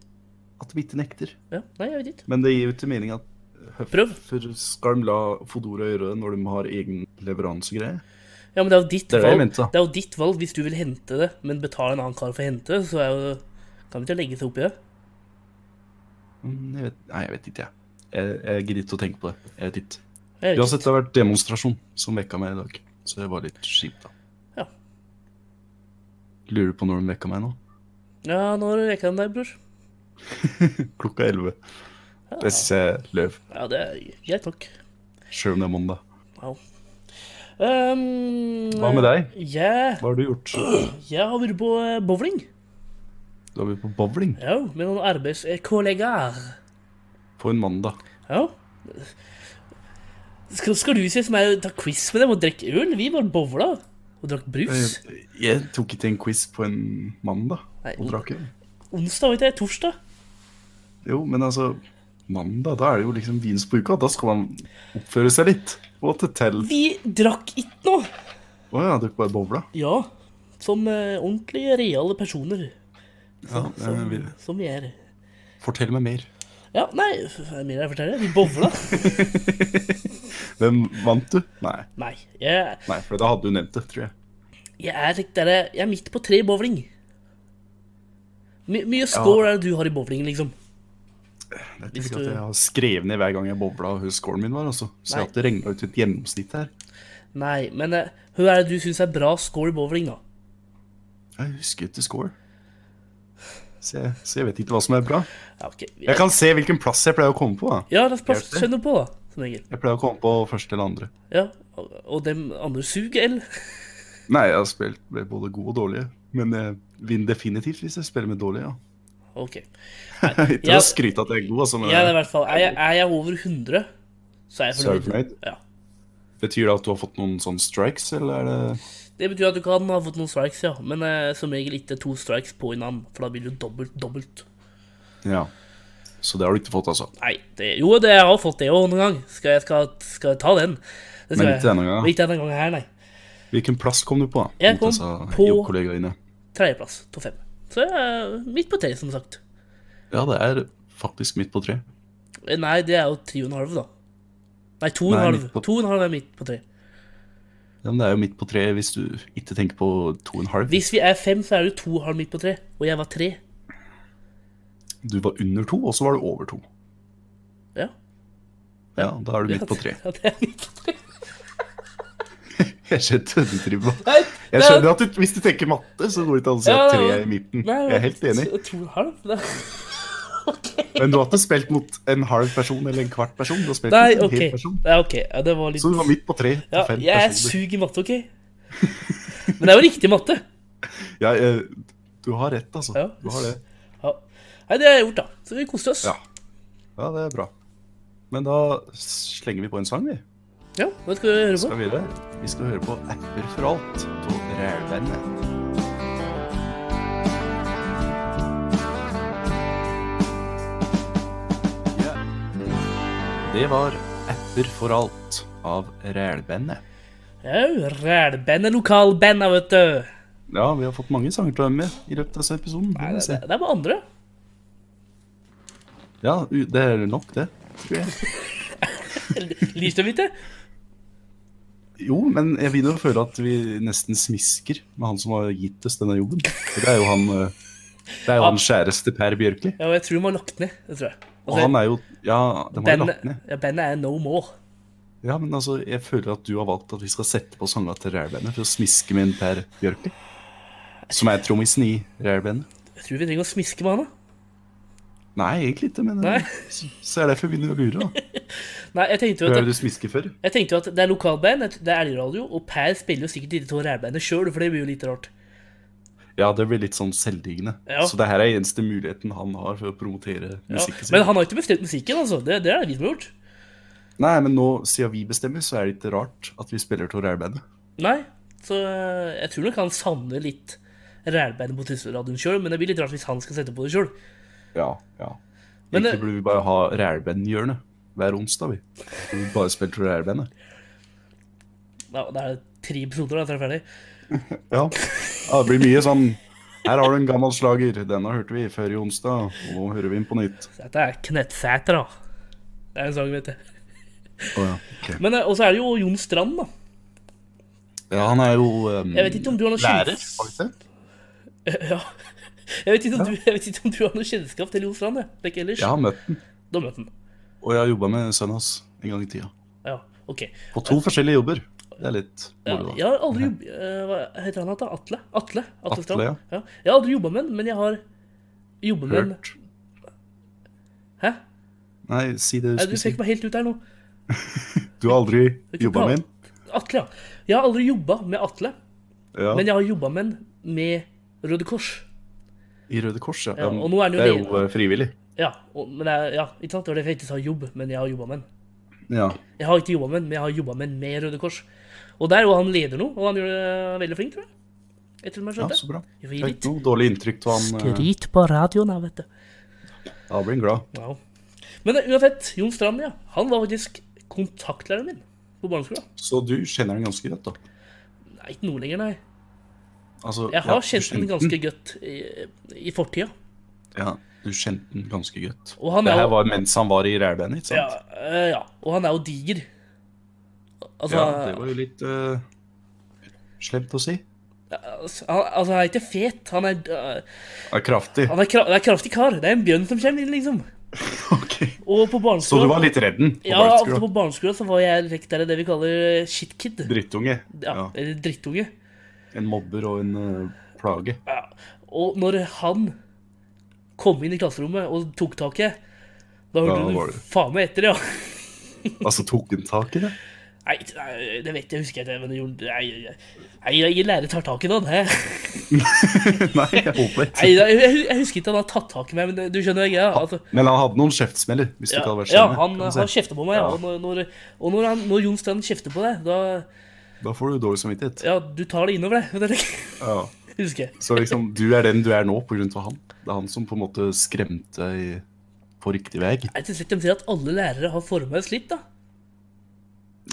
[SPEAKER 3] At de ikke nekter.
[SPEAKER 2] Ja, nei, jeg vet ikke.
[SPEAKER 3] Men det gir jo ikke mening at
[SPEAKER 2] Prøv.
[SPEAKER 3] Hvorfor skal de la Fodora gjøre det når de har egen leveransegreie?
[SPEAKER 2] Ja, men det er jo ditt
[SPEAKER 3] Det er det jeg
[SPEAKER 2] valg.
[SPEAKER 3] mente, da.
[SPEAKER 2] det er jo ditt valg hvis du vil hente det, men betale en annen kar for å hente det, så er jo kan du ikke legge seg opp i det?
[SPEAKER 3] Mm, Jeg vet, nei, jeg vet ikke, jeg. Jeg, jeg gidder ikke å tenke på det. Jeg vet ikke.
[SPEAKER 2] Jeg vet
[SPEAKER 3] Uansett, det har vært demonstrasjon som vekka meg i dag. Så det var litt kjipt, da.
[SPEAKER 2] Ja.
[SPEAKER 3] Lurer du på når de vekka meg nå?
[SPEAKER 2] ikke. Ja, nå har du vekka den der, bror.
[SPEAKER 3] Klokka elleve. Det syns jeg er løv,
[SPEAKER 2] Ja, det er greit nok.
[SPEAKER 3] sjøl om det er mandag.
[SPEAKER 2] Wow. Um,
[SPEAKER 3] Hva med deg?
[SPEAKER 2] Jeg,
[SPEAKER 3] Hva har du gjort?
[SPEAKER 2] jeg har vært på eh, bowling.
[SPEAKER 3] Du har vært på bowling
[SPEAKER 2] Ja, med noen arbeidskollegaer.
[SPEAKER 3] på en mandag.
[SPEAKER 2] Ja. Skal, skal du si som er ta quiz med dem og drikke øl? Vi bare bowla og drakk brus.
[SPEAKER 3] Jeg, jeg tok ikke en quiz på en mandag
[SPEAKER 2] Nei.
[SPEAKER 3] og drakk øl.
[SPEAKER 2] Onsdag, vet jeg. Torsdag.
[SPEAKER 3] Jo, men altså Mandag, da er det jo liksom vins på uka. Da skal man oppføre seg litt. Og til tell. Å
[SPEAKER 2] Vi drakk ikke noe.
[SPEAKER 3] ja, dere bare bowla?
[SPEAKER 2] Ja. Som eh, ordentlige, reale personer.
[SPEAKER 3] Ja,
[SPEAKER 2] Som,
[SPEAKER 3] eh,
[SPEAKER 2] som vi er.
[SPEAKER 3] fortell meg mer.
[SPEAKER 2] Ja, nei, f- er det mer jeg forteller? Vi bowla.
[SPEAKER 3] Hvem vant du? Nei,
[SPEAKER 2] nei. Jeg,
[SPEAKER 3] Nei for da hadde du nevnt det, tror jeg.
[SPEAKER 2] jeg, er, litt der, jeg er midt på tre i bowling. My, mye score er det du har i bowling, liksom.
[SPEAKER 3] Jeg tror
[SPEAKER 2] Hvis
[SPEAKER 3] ikke
[SPEAKER 2] du-
[SPEAKER 3] at jeg har skrevet ned hver gang jeg bobla hvor scoren min var. Altså. Så
[SPEAKER 2] Nei.
[SPEAKER 3] jeg har ikke regna ut et gjennomsnitt her.
[SPEAKER 2] Nei, men eh, hva er det du syns er bra score i bowling, da?
[SPEAKER 3] Jeg husker ikke score. Så jeg, så jeg vet ikke hva som er bra.
[SPEAKER 2] Ja, ok.
[SPEAKER 3] Jeg kan se hvilken plass jeg pleier å komme på. Da.
[SPEAKER 2] Ja, la oss bare
[SPEAKER 3] Hjelp det.
[SPEAKER 2] skjønne på, da, som regel.
[SPEAKER 3] Jeg pleier å komme på første eller andre.
[SPEAKER 2] Ja, og, og dem andre suger, eller?
[SPEAKER 3] Nei, jeg har spilt med både gode og dårlige. Men jeg vinner definitivt hvis jeg spiller med dårlige. Ja.
[SPEAKER 2] Ok.
[SPEAKER 3] Ikke
[SPEAKER 2] Jeg-
[SPEAKER 3] å skryte at jeg er god, altså, men
[SPEAKER 2] Jeg er i hvert fall Er jeg, er jeg over 100, så er jeg
[SPEAKER 3] så er du
[SPEAKER 2] fornøyd.
[SPEAKER 3] fornøyd.
[SPEAKER 2] Ja.
[SPEAKER 3] Betyr det at du har fått noen sånne strikes, eller er det
[SPEAKER 2] Det betyr at du kan ha fått noen strikes, ja. Men eh, som regel ikke to strikes på en annen, for da blir du dobbelt, dobbelt.
[SPEAKER 3] Ja. Så det har du ikke fått, altså.
[SPEAKER 2] Nei, det, jo, det, jeg har fått det òg noen gang. Skal jeg, skal, skal jeg ta den? Det skal
[SPEAKER 3] Men ikke
[SPEAKER 2] jeg.
[SPEAKER 3] denne gangen, da.
[SPEAKER 2] Men Ikke denne gangen her, nei.
[SPEAKER 3] Hvilken plass kom du på? da?
[SPEAKER 2] Jeg kom
[SPEAKER 3] Mot disse
[SPEAKER 2] på-
[SPEAKER 3] jobbkollegaene dine?
[SPEAKER 2] Tredjeplass av fem. Så jeg er midt på tre, som sagt.
[SPEAKER 3] Ja, det er faktisk midt på tre.
[SPEAKER 2] Eh, Nei, det er jo tre og en halv, da. Nei, to og en
[SPEAKER 3] Nei,
[SPEAKER 2] halv.
[SPEAKER 3] midt på-
[SPEAKER 2] To og en halv er midt på tre.
[SPEAKER 3] Ja, men det er jo midt på tre hvis du ikke tenker på to og en halv.
[SPEAKER 2] Hvis vi er fem, så er det to og en halv midt på tre. Og jeg var tre.
[SPEAKER 3] Du var under to, og så var du over to.
[SPEAKER 2] Ja.
[SPEAKER 3] Ja, da er du midt på tre.
[SPEAKER 2] Ja, det er midt på tre.
[SPEAKER 3] Jeg skjønner du driver med.
[SPEAKER 2] Nei,
[SPEAKER 3] Jeg skjønner at du, hvis du tenker matte, så går det ikke an å si
[SPEAKER 2] Ja,
[SPEAKER 3] at
[SPEAKER 2] det
[SPEAKER 3] tre
[SPEAKER 2] var-
[SPEAKER 3] er i midten.
[SPEAKER 2] Nei,
[SPEAKER 3] Jeg er helt enig.
[SPEAKER 2] To og en halv? Nei.
[SPEAKER 3] Men du har ikke spilt mot en halv person eller en kvart person. Du har spilt
[SPEAKER 2] Nei,
[SPEAKER 3] mot en
[SPEAKER 2] ok.
[SPEAKER 3] hel person.
[SPEAKER 2] Nei, ok. Ja, det var litt
[SPEAKER 3] Så du var midt på tre til
[SPEAKER 2] Ja,
[SPEAKER 3] fem
[SPEAKER 2] jeg er
[SPEAKER 3] personer.
[SPEAKER 2] sug i matte, OK? Men det er jo riktig matte.
[SPEAKER 3] Ja, jeg- du har rett, altså.
[SPEAKER 2] Ja.
[SPEAKER 3] Du har det.
[SPEAKER 2] Ja. Nei, det har jeg gjort, da. Så vi koste oss.
[SPEAKER 3] Ja. ja, det er bra. Men da slenger vi på en sang, vi.
[SPEAKER 2] Ja, hva skal vi høre på?
[SPEAKER 3] Skal vi, det? vi skal høre på Apper for alt av Rælbandet. Ja. Det var Apper for alt av Rælbandet.
[SPEAKER 2] Jau, rælband er lokalband, da, vet du.
[SPEAKER 3] Ja, vi har fått mange sanger til å være med i løpet av denne episoden.
[SPEAKER 2] Nei,
[SPEAKER 3] må vi
[SPEAKER 2] det,
[SPEAKER 3] se.
[SPEAKER 2] det, det er bare andre.
[SPEAKER 3] Ja, u- det er nok, det. Tror jeg.
[SPEAKER 2] Liker du ikke?
[SPEAKER 3] Jo, men jeg begynner å føle at vi nesten smisker med han som har gitt oss denne jobben. For det er jo han eh, Det er jo han kjæreste Per Bjørkli.
[SPEAKER 2] Ja, og jeg tror de har lagt ned. det tror jeg. Altså,
[SPEAKER 3] Og han er jo Ja, de har jo lagt ned.
[SPEAKER 2] bandet, ja, bandet er no more.
[SPEAKER 3] Ja, men altså, jeg føler at du har valgt at vi skal sette på sanga til Rælbandet for å smiske med en Per Bjørkli. Som er trommisen i Rælbandet.
[SPEAKER 2] Jeg tror vi trenger å smiske med han. da.
[SPEAKER 3] Nei, egentlig ikke, men
[SPEAKER 2] Nei.
[SPEAKER 3] eh, så, så er det derfor jeg begynner å lure, da.
[SPEAKER 2] Nei, jeg tenkte jo
[SPEAKER 3] Hva er
[SPEAKER 2] at,
[SPEAKER 3] det du smisker for?
[SPEAKER 2] jeg tenkte jo at det er lokalband, at det er elgradio, og Per spiller jo sikkert i de to rælbandene sjøl, for det blir jo litt rart.
[SPEAKER 3] Ja, det blir litt sånn selvdiggende.
[SPEAKER 2] Ja.
[SPEAKER 3] Så det her er eneste muligheten han har for å promotere
[SPEAKER 2] Ja.
[SPEAKER 3] musikken sin.
[SPEAKER 2] Men han har ikke bestemt musikken, altså. Det, det er det vi som har gjort.
[SPEAKER 3] Nei, men nå, siden vi bestemmer, så er det ikke rart at vi spiller til Rælbandet.
[SPEAKER 2] Nei, så eh, jeg tror nok han savner litt rælbandet på Tysfjordradioen sjøl, men det blir litt rart hvis han skal sette på det sjøl.
[SPEAKER 3] Ja, ja.
[SPEAKER 2] Men eh, det-
[SPEAKER 3] Egentlig burde vi bare ha Rælbandhjørnet hver onsdag, vi. Så Vi bare spiller til Rælbandet.
[SPEAKER 2] eh, Ja, det er tre episoder, da, så er det ferdig.
[SPEAKER 3] Ja. ja, det blir mye sånn Her har du en gammel slager. Denne hørte vi før i onsdag, og nå hører vi den på nytt.
[SPEAKER 2] Dette er Knettsæter, da. Det er en sang, vet du.
[SPEAKER 3] Å ja. ok.
[SPEAKER 2] Men eh, Og så er det jo Jon Strand, da.
[SPEAKER 3] ja, han er jo um,
[SPEAKER 2] Jeg vet ikke om du har noe
[SPEAKER 3] lærer,
[SPEAKER 2] kjennskap
[SPEAKER 3] faktisk.
[SPEAKER 2] ja. jeg, vet ikke om du, jeg vet ikke om du har noe kjennskap til Jon Strand, jeg. Det er ikke ellers.
[SPEAKER 3] Jeg har møtt den,
[SPEAKER 2] Da møtte han.
[SPEAKER 3] og jeg har jobba med sønnen hans en gang i tida.
[SPEAKER 2] Ja, OK.
[SPEAKER 3] På to forskjellige jobber. Det er litt
[SPEAKER 2] Ja,
[SPEAKER 3] moro.
[SPEAKER 2] jeg
[SPEAKER 3] da.
[SPEAKER 2] har aldri jobb... eh, Hva heter han igjen? Atle? Atle, Atle,
[SPEAKER 3] Atle,
[SPEAKER 2] Strand?
[SPEAKER 3] ja.
[SPEAKER 2] ja. Jeg har aldri jobba med han, men jeg har jobba med han
[SPEAKER 3] Hørt.
[SPEAKER 2] Hæ?
[SPEAKER 3] Nei, si det
[SPEAKER 2] Nei,
[SPEAKER 3] du
[SPEAKER 2] Du
[SPEAKER 3] skulle si.
[SPEAKER 2] fikk meg helt ut her nå.
[SPEAKER 3] Du har aldri jobba med den?
[SPEAKER 2] Atle, ja. Jeg har aldri jobba med Atle,
[SPEAKER 3] Ja.
[SPEAKER 2] men jeg har jobba med han med Røde Kors.
[SPEAKER 3] I Røde Kors, ja.
[SPEAKER 2] Ja,
[SPEAKER 3] men
[SPEAKER 2] og nå er den jo
[SPEAKER 3] det er
[SPEAKER 2] ledig.
[SPEAKER 3] jo eh, frivillig.
[SPEAKER 2] Ja, og, men jeg, ja, ikke sant? Det var derfor jeg ikke sa jobb, men jeg har jobba med han.
[SPEAKER 3] Ja.
[SPEAKER 2] Jeg har ikke jobba med han, men jeg har jobba med han med Røde Kors. Og der er jo han leder nå, og han gjør det veldig flink, tror jeg. Etter som jeg
[SPEAKER 3] ja,
[SPEAKER 2] skjønte.
[SPEAKER 3] så bra.
[SPEAKER 2] Jeg får
[SPEAKER 3] Det
[SPEAKER 2] gi
[SPEAKER 3] er
[SPEAKER 2] litt
[SPEAKER 3] ikke noe dårlig inntrykk av han. eh,
[SPEAKER 2] skryt på radioen, da, vet du.
[SPEAKER 3] Da blir han glad.
[SPEAKER 2] Ja. Men eh, uansett, Jon Strand, ja. Han var faktisk kontaktlæreren min på barneskolen.
[SPEAKER 3] Så du kjenner han ganske godt, da?
[SPEAKER 2] Nei, ikke nå lenger, nei.
[SPEAKER 3] Altså,
[SPEAKER 2] Jeg
[SPEAKER 3] ja,
[SPEAKER 2] har
[SPEAKER 3] du
[SPEAKER 2] kjent
[SPEAKER 3] kjente
[SPEAKER 2] den ganske godt i, i fortida.
[SPEAKER 3] Ja, du kjente den ganske godt.
[SPEAKER 2] Og han
[SPEAKER 3] det
[SPEAKER 2] er
[SPEAKER 3] her
[SPEAKER 2] jo-
[SPEAKER 3] var mens han var i Rælbandet, ikke
[SPEAKER 2] Ja,
[SPEAKER 3] sant?
[SPEAKER 2] eh, ja. Og han er jo diger. Altså,
[SPEAKER 3] Ja, det var jo litt eh, slemt å si.
[SPEAKER 2] altså, han, altså, han er ikke fet. Han er, eh,
[SPEAKER 3] Ja, kraftig.
[SPEAKER 2] han er, kra han er kraftig kar. Det er en bjørn som kommer inn, liksom.
[SPEAKER 3] Ok.
[SPEAKER 2] Og på
[SPEAKER 3] Så du
[SPEAKER 2] barneskolen
[SPEAKER 3] var litt redd den? på
[SPEAKER 2] Ja,
[SPEAKER 3] barneskolen?
[SPEAKER 2] altså på barneskolen så var jeg lekk der i det vi kaller shitkid.
[SPEAKER 3] Drittunge.
[SPEAKER 2] Ja,
[SPEAKER 3] Ja.
[SPEAKER 2] Eller drittunge.
[SPEAKER 3] En mobber og en eh, plage.
[SPEAKER 2] Ja. Og når han kom inn i klasserommet og tok tak i da
[SPEAKER 3] Da
[SPEAKER 2] hørte
[SPEAKER 3] var
[SPEAKER 2] du
[SPEAKER 3] det-
[SPEAKER 2] faen meg etter, ja.
[SPEAKER 3] Altså, tok han tak i det?
[SPEAKER 2] Nei, nei, det vet jeg, husker jeg ikke. Men det gjorde- nei, nei, nei, ingen lærer tar tak i noen. hæ?
[SPEAKER 3] Nei, jeg håper ikke.
[SPEAKER 2] Nei, nei, jeg, jeg husker ikke han har tatt tak i meg, men du skjønner greia? Altså,
[SPEAKER 3] Men han hadde noen kjeftsmeller, hvis du ikke
[SPEAKER 2] ja,
[SPEAKER 3] hadde vært
[SPEAKER 2] ja,
[SPEAKER 3] slemme,
[SPEAKER 2] han,
[SPEAKER 3] kan
[SPEAKER 2] eh,
[SPEAKER 3] du si.
[SPEAKER 2] han kjefter på meg, ja.
[SPEAKER 3] Ja.
[SPEAKER 2] Og når, når, og når, han, når Jon Strand kjefter på deg, da
[SPEAKER 3] Da får du dårlig samvittighet.
[SPEAKER 2] Ja, du tar det innover deg,
[SPEAKER 3] Ja.
[SPEAKER 2] husker jeg.
[SPEAKER 3] Så liksom, du er den du er nå på grunn av han. Det er han som på en måte skremte deg på riktig vei.
[SPEAKER 2] Jeg synes ikke de sier at alle lærere har formet oss litt, da.